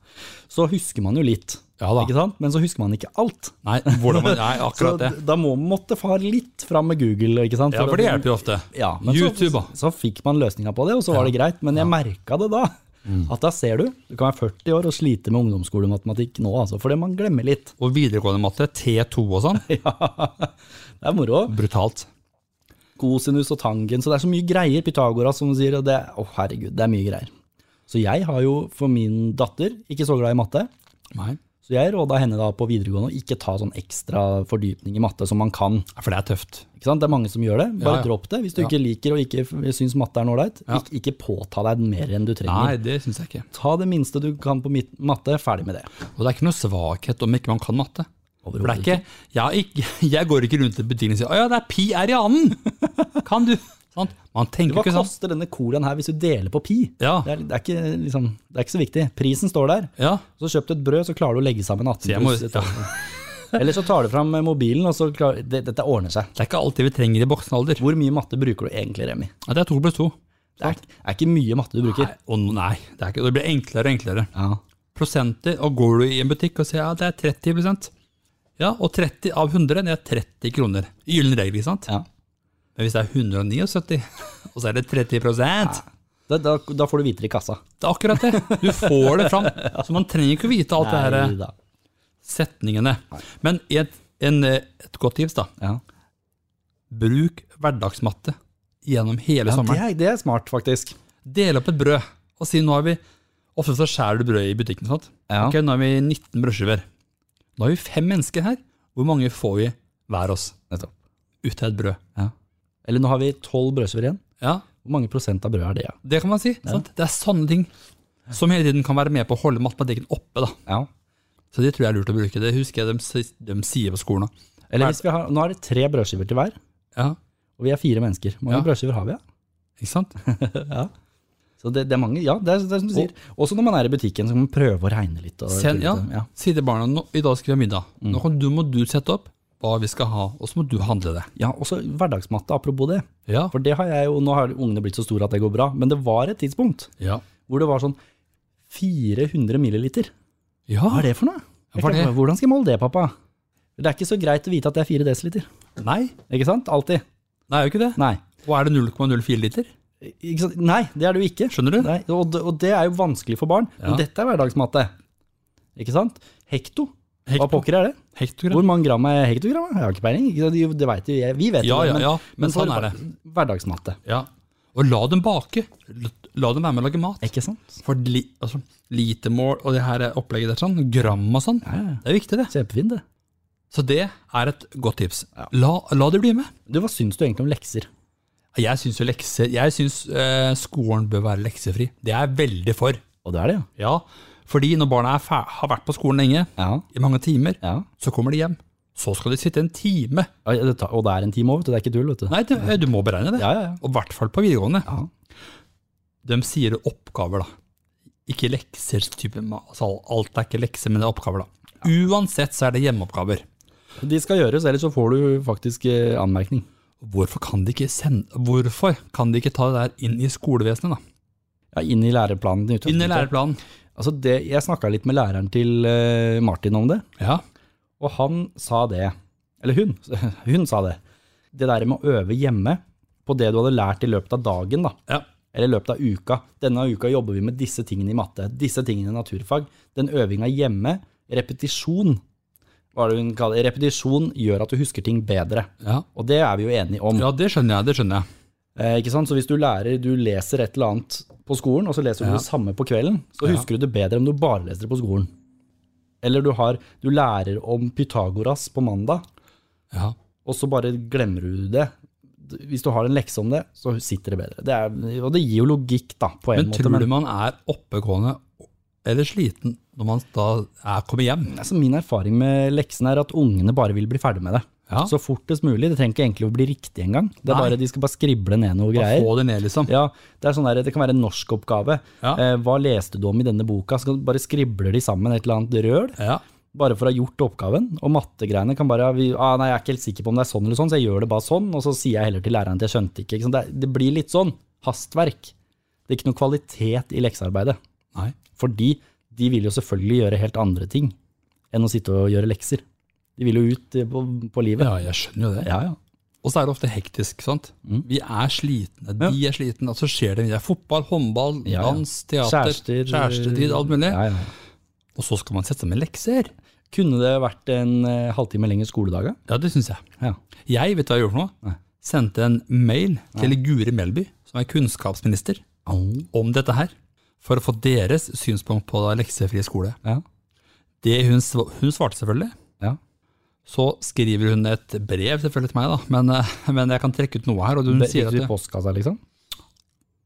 Speaker 1: Så husker man jo litt,
Speaker 2: Ja da.
Speaker 1: ikke sant? men så husker man ikke alt.
Speaker 2: Nei, hvordan man, nei,
Speaker 1: Så
Speaker 2: akkurat det.
Speaker 1: d- da må måtte far litt fram med Google, ikke sant?
Speaker 2: Ja, for det hjelper jo ofte.
Speaker 1: Ja, men
Speaker 2: YouTube, da.
Speaker 1: så, så fikk man løsninga på det, og så var det greit. Men jeg merka det da.
Speaker 2: Mm.
Speaker 1: At da ser du. Du kan være 40 år og slite med ungdomsskolematematikk nå, altså, fordi man glemmer litt.
Speaker 2: Og videregående matte, T2 og sånn.
Speaker 1: Det er moro.
Speaker 2: Brutalt.
Speaker 1: Kosinus og tangen, så det er så mye greier. Pythagoras, som du sier. Og det, å, herregud, det er mye greier. Så jeg har jo for min datter ikke så glad i matte.
Speaker 2: Nei.
Speaker 1: Så jeg råda henne da på videregående å ikke ta sånn ekstra fordypning i matte som man kan.
Speaker 2: Ja, For det er tøft.
Speaker 1: Ikke sant? Det er mange som gjør det. Bare
Speaker 2: Ja, ja.
Speaker 1: dropp det hvis du
Speaker 2: Ja.
Speaker 1: ikke liker og ikke f- syns matte er noe ålreit.
Speaker 2: Ja.
Speaker 1: Ikke, ikke påta deg mer enn du trenger.
Speaker 2: Nei, det syns jeg ikke.
Speaker 1: Ta det minste du kan på mitt- matte, ferdig med det.
Speaker 2: Og det er ikke noe svakhet om ikke man kan matte. For det er ikke, jeg, har ikke, jeg går ikke rundt i butikken og sier 'Å ja, det er pi r i annen'. Kan du? Sant? Man tenker
Speaker 1: Hva
Speaker 2: ikke sånn.
Speaker 1: koster denne colaen her hvis du deler på pi?
Speaker 2: Ja.
Speaker 1: Det, er, det, er ikke, liksom, det er ikke så viktig. Prisen står der.
Speaker 2: Ja.
Speaker 1: Så kjøp du et brød, så klarer du å legge sammen 18
Speaker 2: Så jeg må,
Speaker 1: pluss.
Speaker 2: ja.
Speaker 1: Eller så tar du fram mobilen, og så klarer det, Dette ordner seg.
Speaker 2: Det er ikke alltid vi trenger i voksen alder.
Speaker 1: Hvor mye matte bruker du egentlig, Remi?
Speaker 2: Ja, det er to pluss to.
Speaker 1: Det er, er ikke mye matte du bruker.
Speaker 2: Nei, og nei, det, er ikke, det blir enklere og enklere.
Speaker 1: Ja.
Speaker 2: Prosenter, og går du i en butikk og sier ja, det er 30 Ja, og 30 av 100, det er 30 kroner. Gyllen regel, ikke sant?
Speaker 1: Ja.
Speaker 2: Men hvis det er 179, og så er det 30 Det
Speaker 1: Da, da, da får du vite det i kassa.
Speaker 2: er akkurat det. Du får det fram. Så man trenger ikke å vite alt det her eh,
Speaker 1: Neida.
Speaker 2: setningene. Men et, en, eh, et godt tips, da.
Speaker 1: Ja.
Speaker 2: Bruk hverdagsmatte gjennom
Speaker 1: Ja,
Speaker 2: hele
Speaker 1: det,
Speaker 2: sommeren.
Speaker 1: er, det er smart, faktisk.
Speaker 2: Del opp et brød, og si nå har vi Ofte så skjærer du brødet i butikken. sant?
Speaker 1: Ja.
Speaker 2: Ok, nå har vi 19 brødskiver. Nå har vi fem mennesker her. Hvor mange får vi hver oss?
Speaker 1: Nettopp.
Speaker 2: Ut av et brød.
Speaker 1: Eller nå har vi tolv brødskiver igjen.
Speaker 2: Ja,
Speaker 1: Hvor mange prosent av brødet er det? Ja?
Speaker 2: det kan man si. Sant? Det er sånne ting som hele tiden kan være med på å holde matematikken oppe. Da.
Speaker 1: Ja.
Speaker 2: Så det tror jeg er lurt å bruke. Det husker jeg de, si- de sier på skolen. også.
Speaker 1: Eller hvis vi har, nå er det tre brødskiver til hver,
Speaker 2: Ja,
Speaker 1: og vi er fire mennesker. Hvor mange
Speaker 2: Ja.
Speaker 1: brødskiver har vi? Ja?
Speaker 2: ikke sant?
Speaker 1: Så det, det er mange, ja, det er, det er som du sier. Også når man er i butikken, så kan man prøve å regne litt. Og,
Speaker 2: Send, ja.
Speaker 1: ja.
Speaker 2: Si til barna nå, i dag skal vi ha middag. Nå kan du, må du sette opp hva vi skal ha, og så må du handle det.
Speaker 1: Ja, også hverdagsmatte, apropos det.
Speaker 2: Ja.
Speaker 1: For det har jeg jo, nå har ungene blitt så store at det går bra, men det var et tidspunkt
Speaker 2: Ja.
Speaker 1: hvor det var sånn 400 milliliter.
Speaker 2: ja.
Speaker 1: Hva er det for noe? Jeg
Speaker 2: Hva er det?
Speaker 1: tenkte, Hvordan skal jeg måle det, pappa? Det er ikke så greit å vite at det er 4 desiliter.
Speaker 2: Nei,
Speaker 1: Ikke sant? Alltid.
Speaker 2: det er jo ikke det.
Speaker 1: Nei.
Speaker 2: Og er det 0,04 liter?
Speaker 1: Ikke sant? Nei, det er det jo ikke.
Speaker 2: Skjønner du?
Speaker 1: Nei, og, det- og det er jo vanskelig for barn.
Speaker 2: Ja.
Speaker 1: Men dette er hverdagsmatte. Ikke sant? Hekto. Hva
Speaker 2: Hekto-
Speaker 1: pokker er det?
Speaker 2: Hektogram.
Speaker 1: Hvor mange gram er hektogram? Jeg har ikke peiling. Ikke sant? Jo, Det vet jo jeg. Vi vet
Speaker 2: Ja,
Speaker 1: jo det,
Speaker 2: ja, ja, men
Speaker 1: for
Speaker 2: sånn er det.
Speaker 1: Hverdagsmatte.
Speaker 2: Ja. Og la dem bake. La, la dem være med å lage mat.
Speaker 1: Ikke sant?
Speaker 2: For li, altså, litermål og det her opplegget der, sånn, gram og sånn,
Speaker 1: ja.
Speaker 2: det er viktig, det.
Speaker 1: Kjempefint, det.
Speaker 2: Så det er et godt tips. La, la de bli med.
Speaker 1: Du, Hva syns du egentlig om lekser?
Speaker 2: Jeg syns jo lekser Jeg syns eh, skolen bør være leksefri. Det er jeg veldig for.
Speaker 1: Og det er det, ja.
Speaker 2: Ja, fordi når barna er fer- har vært på skolen lenge,
Speaker 1: Ja.
Speaker 2: i mange timer,
Speaker 1: ja.
Speaker 2: så kommer de hjem. Så skal de sitte en time.
Speaker 1: Oi, det tar- Og det er en time over, vet du. Det er ikke tull, vet du.
Speaker 2: Nei, du, du må beregne det.
Speaker 1: Ja, ja, ja.
Speaker 2: Og i hvert fall på videregående.
Speaker 1: Ja.
Speaker 2: De sier oppgaver, da. Ikke lekser. Type, ma- altså, alt er ikke lekser, men det er oppgaver, da. Uansett så er det hjemmeoppgaver.
Speaker 1: De skal gjøres, ellers så får du faktisk eh, anmerkning.
Speaker 2: Hvorfor kan de ikke, sende, hvorfor kan de ikke ta det der inn i skolevesenet, da?
Speaker 1: Ja, Inn i læreplanen. i
Speaker 2: Inn i
Speaker 1: utgangspunktet.
Speaker 2: læreplanen.
Speaker 1: Altså det, jeg snakka litt med læreren til eh, Martin om det,
Speaker 2: Ja.
Speaker 1: og han sa det. Eller hun. Hun sa det. Det der med å øve hjemme på det du hadde lært i løpet av dagen, da.
Speaker 2: ja.
Speaker 1: Eller i løpet av uka. Denne uka jobber vi med disse tingene i matte, disse tingene i naturfag. Den øvinga hjemme, repetisjon, hva er det hun kaller det? Repetisjon gjør at du husker ting bedre.
Speaker 2: Ja.
Speaker 1: Og det er vi jo enige om.
Speaker 2: ja, det skjønner jeg. det skjønner jeg.
Speaker 1: Eh, ikke sant? Så hvis du lærer, du leser et eller annet på skolen, og så leser du det samme på kvelden, så husker du det bedre enn om du bare leser det på skolen. Eller du, har, du lærer om Pythagoras på mandag,
Speaker 2: Ja.
Speaker 1: og så bare glemmer du det. Hvis du har en lekse om det, så sitter det bedre. Det er, og det gir jo logikk, da, på en
Speaker 2: Men
Speaker 1: måte.
Speaker 2: tror du man er oppegående eller sliten når man da er, kommer hjem?
Speaker 1: altså, min erfaring med leksene er at ungene bare vil bli ferdig med det.
Speaker 2: Ja.
Speaker 1: Så fortest mulig. Det trenger ikke egentlig å bli riktig engang. Det er
Speaker 2: Nei.
Speaker 1: bare, de skal bare skrible ned noe
Speaker 2: Bare
Speaker 1: greier.
Speaker 2: Få det ned, liksom.
Speaker 1: Ja, det, er sånn der, det kan være en norskoppgave.
Speaker 2: Ja.
Speaker 1: Eh, hva leste du om i denne boka? Så kan- bare skribler de sammen et eller annet røl,
Speaker 2: Ja.
Speaker 1: bare for å ha gjort oppgaven. Og mattegreiene kan bare vi, ah, Nei, jeg er ikke helt sikker på om det er sånn eller sånn, så jeg gjør det bare sånn. Og så sier jeg heller til læreren at jeg skjønte ikke. ikke sant? Det, er- det blir litt sånn hastverk. Det er ikke noe kvalitet i leksearbeidet.
Speaker 2: Nei.
Speaker 1: Fordi de vil jo selvfølgelig gjøre helt andre ting enn å sitte og gjøre lekser. De vil jo ut eh, på, på livet.
Speaker 2: ja, jeg skjønner jo det.
Speaker 1: Ja, Mm. ja.
Speaker 2: Og så er det ofte hektisk. sant? Vi er slitne, de er slitne, og så skjer det mye. Fotball, håndball,
Speaker 1: Ja, ja.
Speaker 2: dans, teater,
Speaker 1: Kjærester,
Speaker 2: kjærestid, alt mulig.
Speaker 1: ja, ja.
Speaker 2: Og så skal man sette seg med lekser.
Speaker 1: Kunne det vært en eh, halvtime lenger skoledag?
Speaker 2: Ja, det syns jeg.
Speaker 1: Ja.
Speaker 2: Jeg vet hva jeg gjorde for noe. Sendte en mail til Guri Melby, som er kunnskapsminister, om dette her. For å få deres synspunkt på da leksefri skole.
Speaker 1: Ja.
Speaker 2: Det hun, sv- hun svarte selvfølgelig.
Speaker 1: Ja.
Speaker 2: Så skriver hun et brev selvfølgelig til meg, da. Men, eh, men jeg kan trekke ut noe her. Og hun
Speaker 1: Det
Speaker 2: sier
Speaker 1: sier
Speaker 2: at det,
Speaker 1: i postkassa, liksom?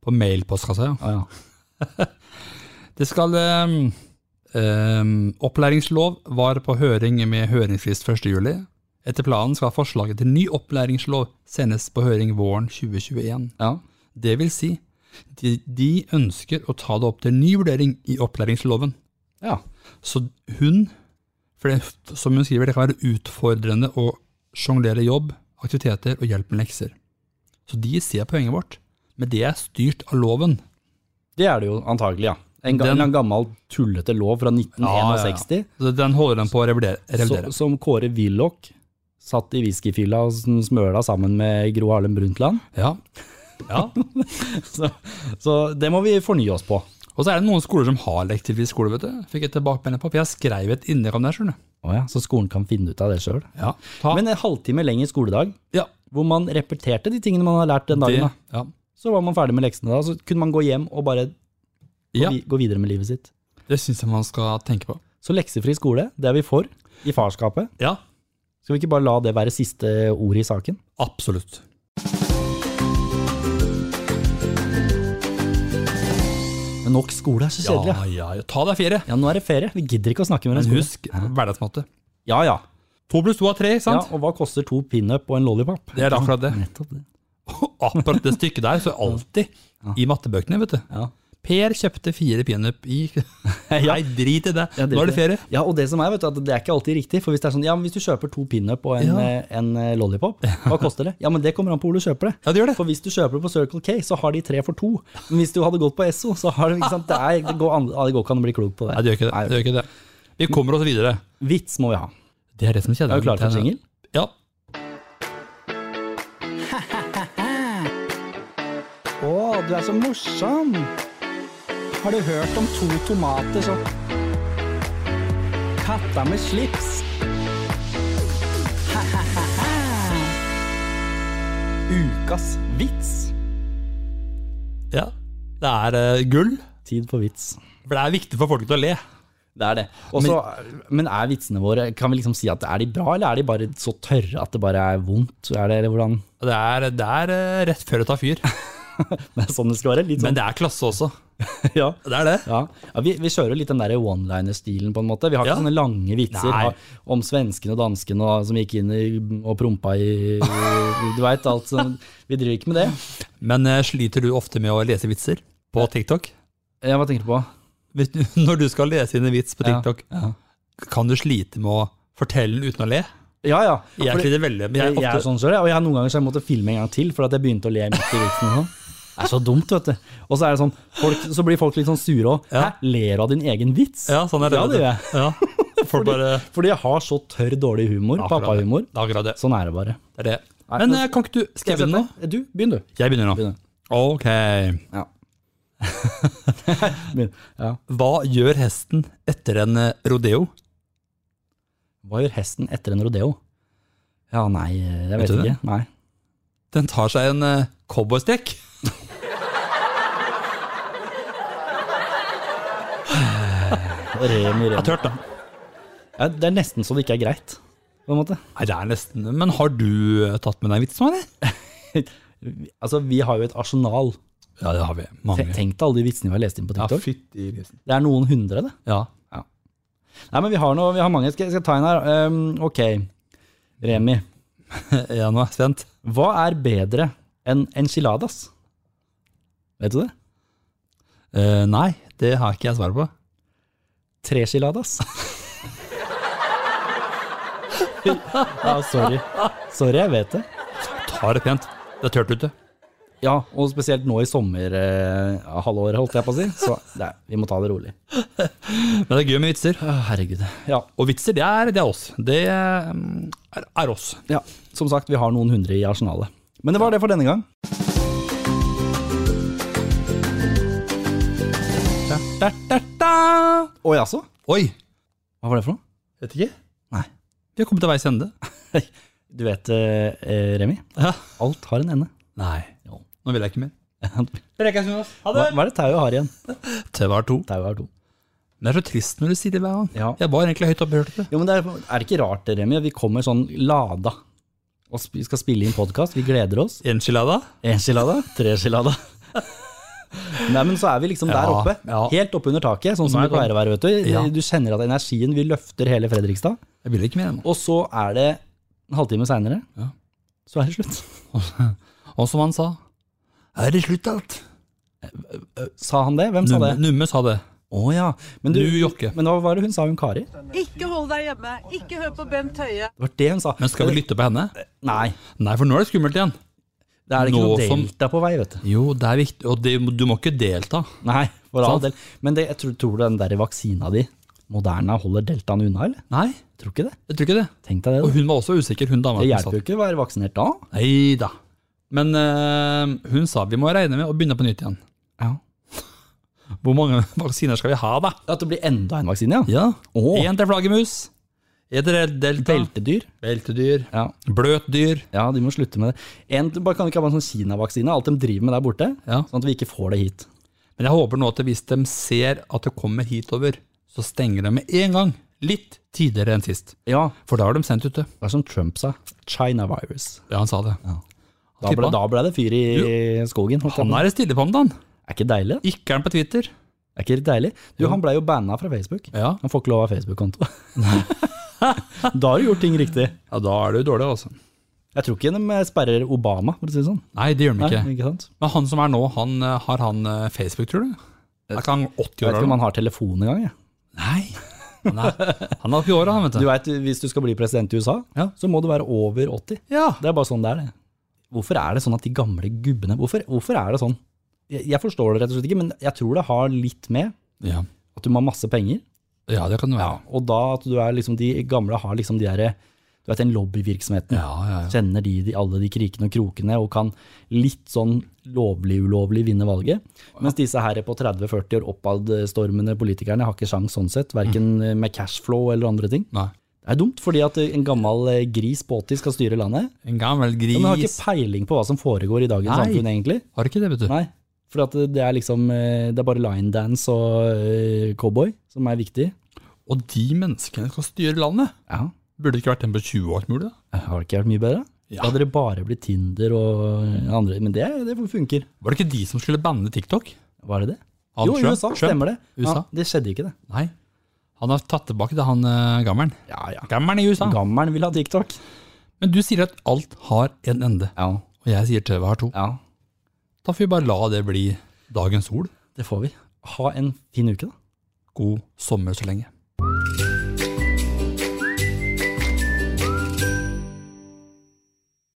Speaker 2: på mailpostkassa, ja.
Speaker 1: Ah, ja.
Speaker 2: Det skal ehm, ehm, Opplæringslov var på høring med høringsfrist 1. juli. Etter planen skal forslaget til ny opplæringslov sendes på høring våren 2021.
Speaker 1: Ja.
Speaker 2: Det vil si, de, de ønsker å ta det opp til ny vurdering i opplæringsloven.
Speaker 1: Ja.
Speaker 2: Så hun, for det, som hun skriver, det kan være utfordrende å sjonglere jobb, aktiviteter og hjelp med lekser. Så de ser poenget vårt, men det er styrt av loven.
Speaker 1: Det er det jo antagelig, ja. En, ga-
Speaker 2: Den-
Speaker 1: en gammel tullete lov fra 1961
Speaker 2: Så Den holder den på å revidere. revidere.
Speaker 1: så- som Kåre Willoch satt i whiskyfylla og sn- smøla sammen med Gro Harlem Brundtland.
Speaker 2: Ja. ja.
Speaker 1: Så, så det må vi fornye oss på.
Speaker 2: Og så er det noen skoler som har lektivt skole, vet du. Fikk jeg tilbakemelding på, for jeg skrev et innlegg om det, her, skjønner du.
Speaker 1: Å ja, så skolen kan finne ut av det sjøl.
Speaker 2: Ja. Ta.
Speaker 1: Men en halvtime lenger skoledag,
Speaker 2: ja.
Speaker 1: hvor man repeterte de tingene man har lært den
Speaker 2: Det,
Speaker 1: dagen, da.
Speaker 2: ja.
Speaker 1: så var man ferdig med leksene da, så kunne man gå hjem og bare gå,
Speaker 2: Ja.
Speaker 1: vi, gå videre med livet sitt.
Speaker 2: det syns jeg man skal tenke på.
Speaker 1: Så leksefri skole, det er vi for i farskapet.
Speaker 2: Ja,
Speaker 1: Skal vi ikke bare la det være siste ordet i saken?
Speaker 2: absolutt.
Speaker 1: Men nok skole er så
Speaker 2: Ja,
Speaker 1: kjedelig. Ja.
Speaker 2: ja, ja. Ta deg fire.
Speaker 1: ja, nå er det ferie. Vi gidder ikke å snakke mer om
Speaker 2: Men
Speaker 1: skole.
Speaker 2: husk hverdagsmatte.
Speaker 1: Ja, ja.
Speaker 2: To pluss to er tre, ikke
Speaker 1: ja.
Speaker 2: sant?
Speaker 1: Og hva koster to pinup og en lollipop?
Speaker 2: Det er akkurat det.
Speaker 1: Nettopp det.
Speaker 2: Akkurat det stykket der, så alltid i mattebøkene, vet du.
Speaker 1: Ja.
Speaker 2: Per kjøpte fire pinup i Nei, drit i det.
Speaker 1: Ja,
Speaker 2: Nå er det ferie.
Speaker 1: Ja, og det som er, vet du, at det er ikke alltid riktig. For hvis det er sånn, ja, men hvis du kjøper to pinup og en,
Speaker 2: Ja.
Speaker 1: eh, en eh, lollipop, hva koster det? Ja, men det kommer an på hvor du kjøper det.
Speaker 2: Ja, det gjør det.
Speaker 1: For hvis du kjøper det på Circle K, så har de tre for to. Men hvis du hadde gått på Esso, så har du, ikke sant, det, er, det, går an, ja, det går ikke an å bli klok på det.
Speaker 2: Nei, det gjør ikke det. det, gjør ikke det. Vi kommer oss videre.
Speaker 1: Vits må vi ha.
Speaker 2: Det er det som
Speaker 1: Er
Speaker 2: kjeder
Speaker 1: du klar for jingle?
Speaker 2: Ja.
Speaker 1: Å, du er så morsom! Har du hørt om to tomater som Katta med slips! Ukas vits.
Speaker 2: ja. Det er eh, gull.
Speaker 1: Tid for vits.
Speaker 2: For det er viktig for folk til å le.
Speaker 1: Det er det. Også, men er vitsene våre Kan vi liksom si at er de bra, eller er de bare så tørre at det bare er vondt? Er det, eller hvordan?
Speaker 2: Og Det er, det er eh, rett før det tar fyr.
Speaker 1: Det er sånn det skal være. Litt
Speaker 2: Men
Speaker 1: sånn.
Speaker 2: det er klasse også.
Speaker 1: ja.
Speaker 2: Det er det.
Speaker 1: Ja. ja, Vi, vi kjører jo litt den der one-liner-stilen, på en måte. Vi har ikke
Speaker 2: Ja.
Speaker 1: sånne lange vitser
Speaker 2: Nei.
Speaker 1: ha- om svenskene og danskene og, som gikk inn i, og prompa i Du veit, alt sånn. Vi driver ikke med det.
Speaker 2: Men eh, sliter du ofte med å lese vitser på TikTok?
Speaker 1: Ja, hva tenker du på?
Speaker 2: Hvis du, når du skal lese inn en vits på
Speaker 1: Ja,
Speaker 2: TikTok,
Speaker 1: ja.
Speaker 2: kan du slite med å fortelle den uten å le?
Speaker 1: Ja, ja.
Speaker 2: Jeg
Speaker 1: Fordi-
Speaker 2: sliter veldig, men jeg,
Speaker 1: jeg,
Speaker 2: er
Speaker 1: er
Speaker 2: ofte,
Speaker 1: sånn selv, jeg. og jeg har noen ganger så jeg måtte filme en gang til, for at jeg begynte å le midt i vitsen. og sånn. Det er så dumt, vet du. Og så, er det sånn, folk, så blir folk litt sånn sure òg.
Speaker 2: Ja.
Speaker 1: Hæ, ler du av din egen vits?
Speaker 2: ja, sånn er det.
Speaker 1: Ja, det gjør jeg.
Speaker 2: jeg. Ja. Folk bare,
Speaker 1: Fordi jeg har så tørr dårlig humor.
Speaker 2: Akkurat det.
Speaker 1: Pappahumor.
Speaker 2: det er akkurat det.
Speaker 1: Sånn er det bare.
Speaker 2: det, er det.
Speaker 1: Nei,
Speaker 2: Men
Speaker 1: nå-
Speaker 2: eh, kan ikke du Skal jeg begynne nå?
Speaker 1: Du, begynn du.
Speaker 2: Jeg begynner nå.
Speaker 1: Begynner.
Speaker 2: Ok.
Speaker 1: Ja. Begynn. ja.
Speaker 2: Hva gjør hesten etter en eh, rodeo?
Speaker 1: Hva gjør hesten etter en rodeo? Ja, nei, eh, jeg
Speaker 2: Vet
Speaker 1: vet,
Speaker 2: du det?
Speaker 1: ikke. Nei.
Speaker 2: Den tar seg en eh, cowboystrekk.
Speaker 1: Rem i rem.
Speaker 2: Tørt, da.
Speaker 1: Ja, det er nesten så det ikke er greit, på en måte.
Speaker 2: Nei, det er nesten Men har du eh, tatt med deg en vits nå, eller?
Speaker 1: Altså, vi har jo et arsenal.
Speaker 2: Ja, det har vi.
Speaker 1: Te-
Speaker 2: Mange.
Speaker 1: Tenk deg alle de vitsene vi har lest inn på
Speaker 2: Ja,
Speaker 1: TikTok.
Speaker 2: fytti grisen.
Speaker 1: Det er noen hundre, det.
Speaker 2: Ja.
Speaker 1: Nei, men vi har, noe, vi har mange. Skal, skal jeg ta en her? Um, ok, Remi.
Speaker 2: ja, nå er jeg spent.
Speaker 1: Hva er bedre enn enchiladas? Vet du det?
Speaker 2: Eh, nei, det har ikke jeg svar på.
Speaker 1: Tresiladas. ja, sorry. Sorry, jeg vet det.
Speaker 2: Ta det pent. Det er tørt ute.
Speaker 1: Ja, og spesielt nå i sommerhalvåret, eh, halvåret, holdt jeg på å si. Så nei, vi må ta det rolig.
Speaker 2: Men det er gøy med vitser.
Speaker 1: Å, herregud. Ja,
Speaker 2: Og vitser, det er, det er oss. Det mm, er, er oss.
Speaker 1: ja, som sagt, vi har noen hundre i arsenalet. Men det var det for denne gang.
Speaker 2: Da, da, da.
Speaker 1: Å jaså?
Speaker 2: Oi!
Speaker 1: Hva var det for noe?
Speaker 2: Vet ikke.
Speaker 1: Nei.
Speaker 2: Vi har kommet til veis ende.
Speaker 1: Du vet, eh, eh, Remi,
Speaker 2: Ja.
Speaker 1: alt har en ende.
Speaker 2: Nei.
Speaker 1: Jo.
Speaker 2: Nå vil jeg ikke mer.
Speaker 1: Hva,
Speaker 2: Prekes, Jonas. Ha
Speaker 1: hva er det tauet har igjen?
Speaker 2: Tauet er to.
Speaker 1: Tauet har to.
Speaker 2: Men Det er så trist når du sier det hver gang.
Speaker 1: Ja.
Speaker 2: Jeg var egentlig høyt oppe og hørte det.
Speaker 1: Jo, men det er, er det ikke rart, Remi? at Vi kommer sånn lada og sp skal spille inn podkast. Vi gleder oss.
Speaker 2: Enchilada?
Speaker 1: Én skilada, tre skilada. Nei, men så er vi liksom der
Speaker 2: Ja,
Speaker 1: oppe.
Speaker 2: ja.
Speaker 1: Helt oppe under taket, sånn som
Speaker 2: Nei,
Speaker 1: vi pleier å være. vet Du
Speaker 2: Ja.
Speaker 1: Du kjenner at energien Vi løfter hele Fredrikstad.
Speaker 2: Jeg vil ikke mer ennå.
Speaker 1: Og så er det en halvtime seinere,
Speaker 2: Ja.
Speaker 1: så er det slutt.
Speaker 2: Og som han sa, er det slutt alt?
Speaker 1: Sa han det? Hvem sa
Speaker 2: Numme,
Speaker 1: det?
Speaker 2: Numme sa det.
Speaker 1: Å ja. Men,
Speaker 2: Du,
Speaker 1: du,
Speaker 2: Jokke.
Speaker 1: men hva var det hun sa, hun Kari? Det
Speaker 3: Ikke hold deg hjemme. Ikke hør på Bent Høie.
Speaker 1: var det hun sa.
Speaker 2: Men skal vi lytte på henne?
Speaker 1: Nei.
Speaker 2: Nei, for nå er det skummelt igjen.
Speaker 1: Det er det ikke
Speaker 2: Nå
Speaker 1: noe
Speaker 2: som-
Speaker 1: delta på vei, vet du.
Speaker 2: Jo, det er viktig, og det, du må ikke delta.
Speaker 1: Nei, for all
Speaker 2: Sant.
Speaker 1: del. Men det, jeg tror, tror du den der vaksina di, Moderna, holder deltaen unna, eller?
Speaker 2: Nei,
Speaker 1: Tror ikke det.
Speaker 2: jeg tror ikke det.
Speaker 1: Tenk deg det.
Speaker 2: Og
Speaker 1: da.
Speaker 2: hun var også usikker, hun dama.
Speaker 1: Det hjelper jo ikke å være vaksinert da.
Speaker 2: Nei da. Men eh, hun sa vi må regne med å begynne på nytt igjen.
Speaker 1: Ja.
Speaker 2: Hvor mange vaksiner skal vi ha, da?
Speaker 1: At det blir enda en vaksine, ja.
Speaker 2: Ja.
Speaker 1: Åh.
Speaker 2: Én til flaggermus. Én til delta.
Speaker 1: Beltedyr.
Speaker 2: Beltedyr.
Speaker 1: Ja.
Speaker 2: Bløtdyr.
Speaker 1: ja, de må slutte med det. En, bare kan vi ikke ha en sånn Kina-vaksine, alt de driver med der borte,
Speaker 2: Ja.
Speaker 1: sånn at vi ikke får det hit.
Speaker 2: Men jeg håper nå at hvis de ser at det kommer hitover, så stenger de med en gang. Litt tidligere enn sist.
Speaker 1: Ja,
Speaker 2: For da har de sendt ute.
Speaker 1: det er som Trump sa, China virus.
Speaker 2: Ja, han sa det.
Speaker 1: Da ble, da ble det fyr i skogen. holdt jeg
Speaker 2: Han
Speaker 1: på å si.
Speaker 2: er stille på om dagen.
Speaker 1: Er ikke deilig? det?
Speaker 2: Ikke er han på Twitter.
Speaker 1: Er ikke det deilig? Du, han blei jo banna fra Facebook.
Speaker 2: Ja.
Speaker 1: Han får ikke lov av Facebook-konto. da har du gjort ting riktig.
Speaker 2: ja, da er du dårlig, altså.
Speaker 1: Jeg tror ikke de sperrer Obama, for å si det sånn.
Speaker 2: Nei, det gjør de ikke.
Speaker 1: Nei, ikke sant?
Speaker 2: Men han som er nå, han, eh, har han eh, Facebook, tror du? Er ikke han
Speaker 1: Jeg
Speaker 2: 80 år
Speaker 1: vet ikke om
Speaker 2: gammel?
Speaker 1: han har telefon engang. jeg.
Speaker 2: Nei. Han er, han er oppi åra, han, vet
Speaker 1: Du
Speaker 2: du.
Speaker 1: vet, Hvis du skal bli president i USA,
Speaker 2: Ja.
Speaker 1: så må du være over 80.
Speaker 2: Ja.
Speaker 1: Det er bare sånn det er. det. Hvorfor er det sånn at de gamle gubbene Hvorfor, hvorfor er det sånn? Jeg, jeg forstår det rett og slett ikke, men jeg tror det har litt med
Speaker 2: ja.
Speaker 1: at du må ha masse penger,
Speaker 2: Ja, det kan det være.
Speaker 1: og da at du er liksom de gamle har liksom de derre Du vet den lobbyvirksomheten.
Speaker 2: Ja, ja, ja.
Speaker 1: Kjenner de, de alle de krikene og krokene og kan litt sånn lovlig-ulovlig vinne valget. Mens disse her på 30-40 år oppadstormende politikerne har ikke sjans sånn sett. Verken
Speaker 2: Mm.
Speaker 1: med cashflow eller andre ting.
Speaker 2: Nei.
Speaker 1: Det er dumt, fordi at en gammel eh, gris på 80 skal styre landet.
Speaker 2: En gammel
Speaker 1: Ja,
Speaker 2: gris.
Speaker 1: men har ikke peiling på hva som foregår i dagens
Speaker 2: Nei.
Speaker 1: samfunn, egentlig.
Speaker 2: Har ikke det, vet du.
Speaker 1: Nei. For at det er liksom eh, Det er bare line dance og eh, cowboy som er viktig.
Speaker 2: Og de menneskene skal styre landet.
Speaker 1: Ja.
Speaker 2: Burde det ikke vært en på 20 år, mulig? da?
Speaker 1: Har det ikke vært mye bedre?
Speaker 2: Ja.
Speaker 1: Da hadde det bare blitt Tinder og eh, andre Men det, det funker.
Speaker 2: Var det ikke de som skulle banne TikTok?
Speaker 1: Var det det?
Speaker 2: Han
Speaker 1: jo, i
Speaker 2: Trump-
Speaker 1: USA
Speaker 2: Trump?
Speaker 1: stemmer det.
Speaker 2: USA?
Speaker 1: Ja, det skjedde ikke, det.
Speaker 2: Nei. Han har tatt tilbake det, han eh, gammelen.
Speaker 1: Ja, ja.
Speaker 2: Gammelen i USA.
Speaker 1: Gammelen vil ha TikTok.
Speaker 2: Men du sier at alt har en ende,
Speaker 1: Ja.
Speaker 2: og jeg sier tøvet har to.
Speaker 1: ja.
Speaker 2: Da får vi bare la det bli dagens sol.
Speaker 1: Det får vi. Ha en fin uke, da.
Speaker 2: God sommer så lenge.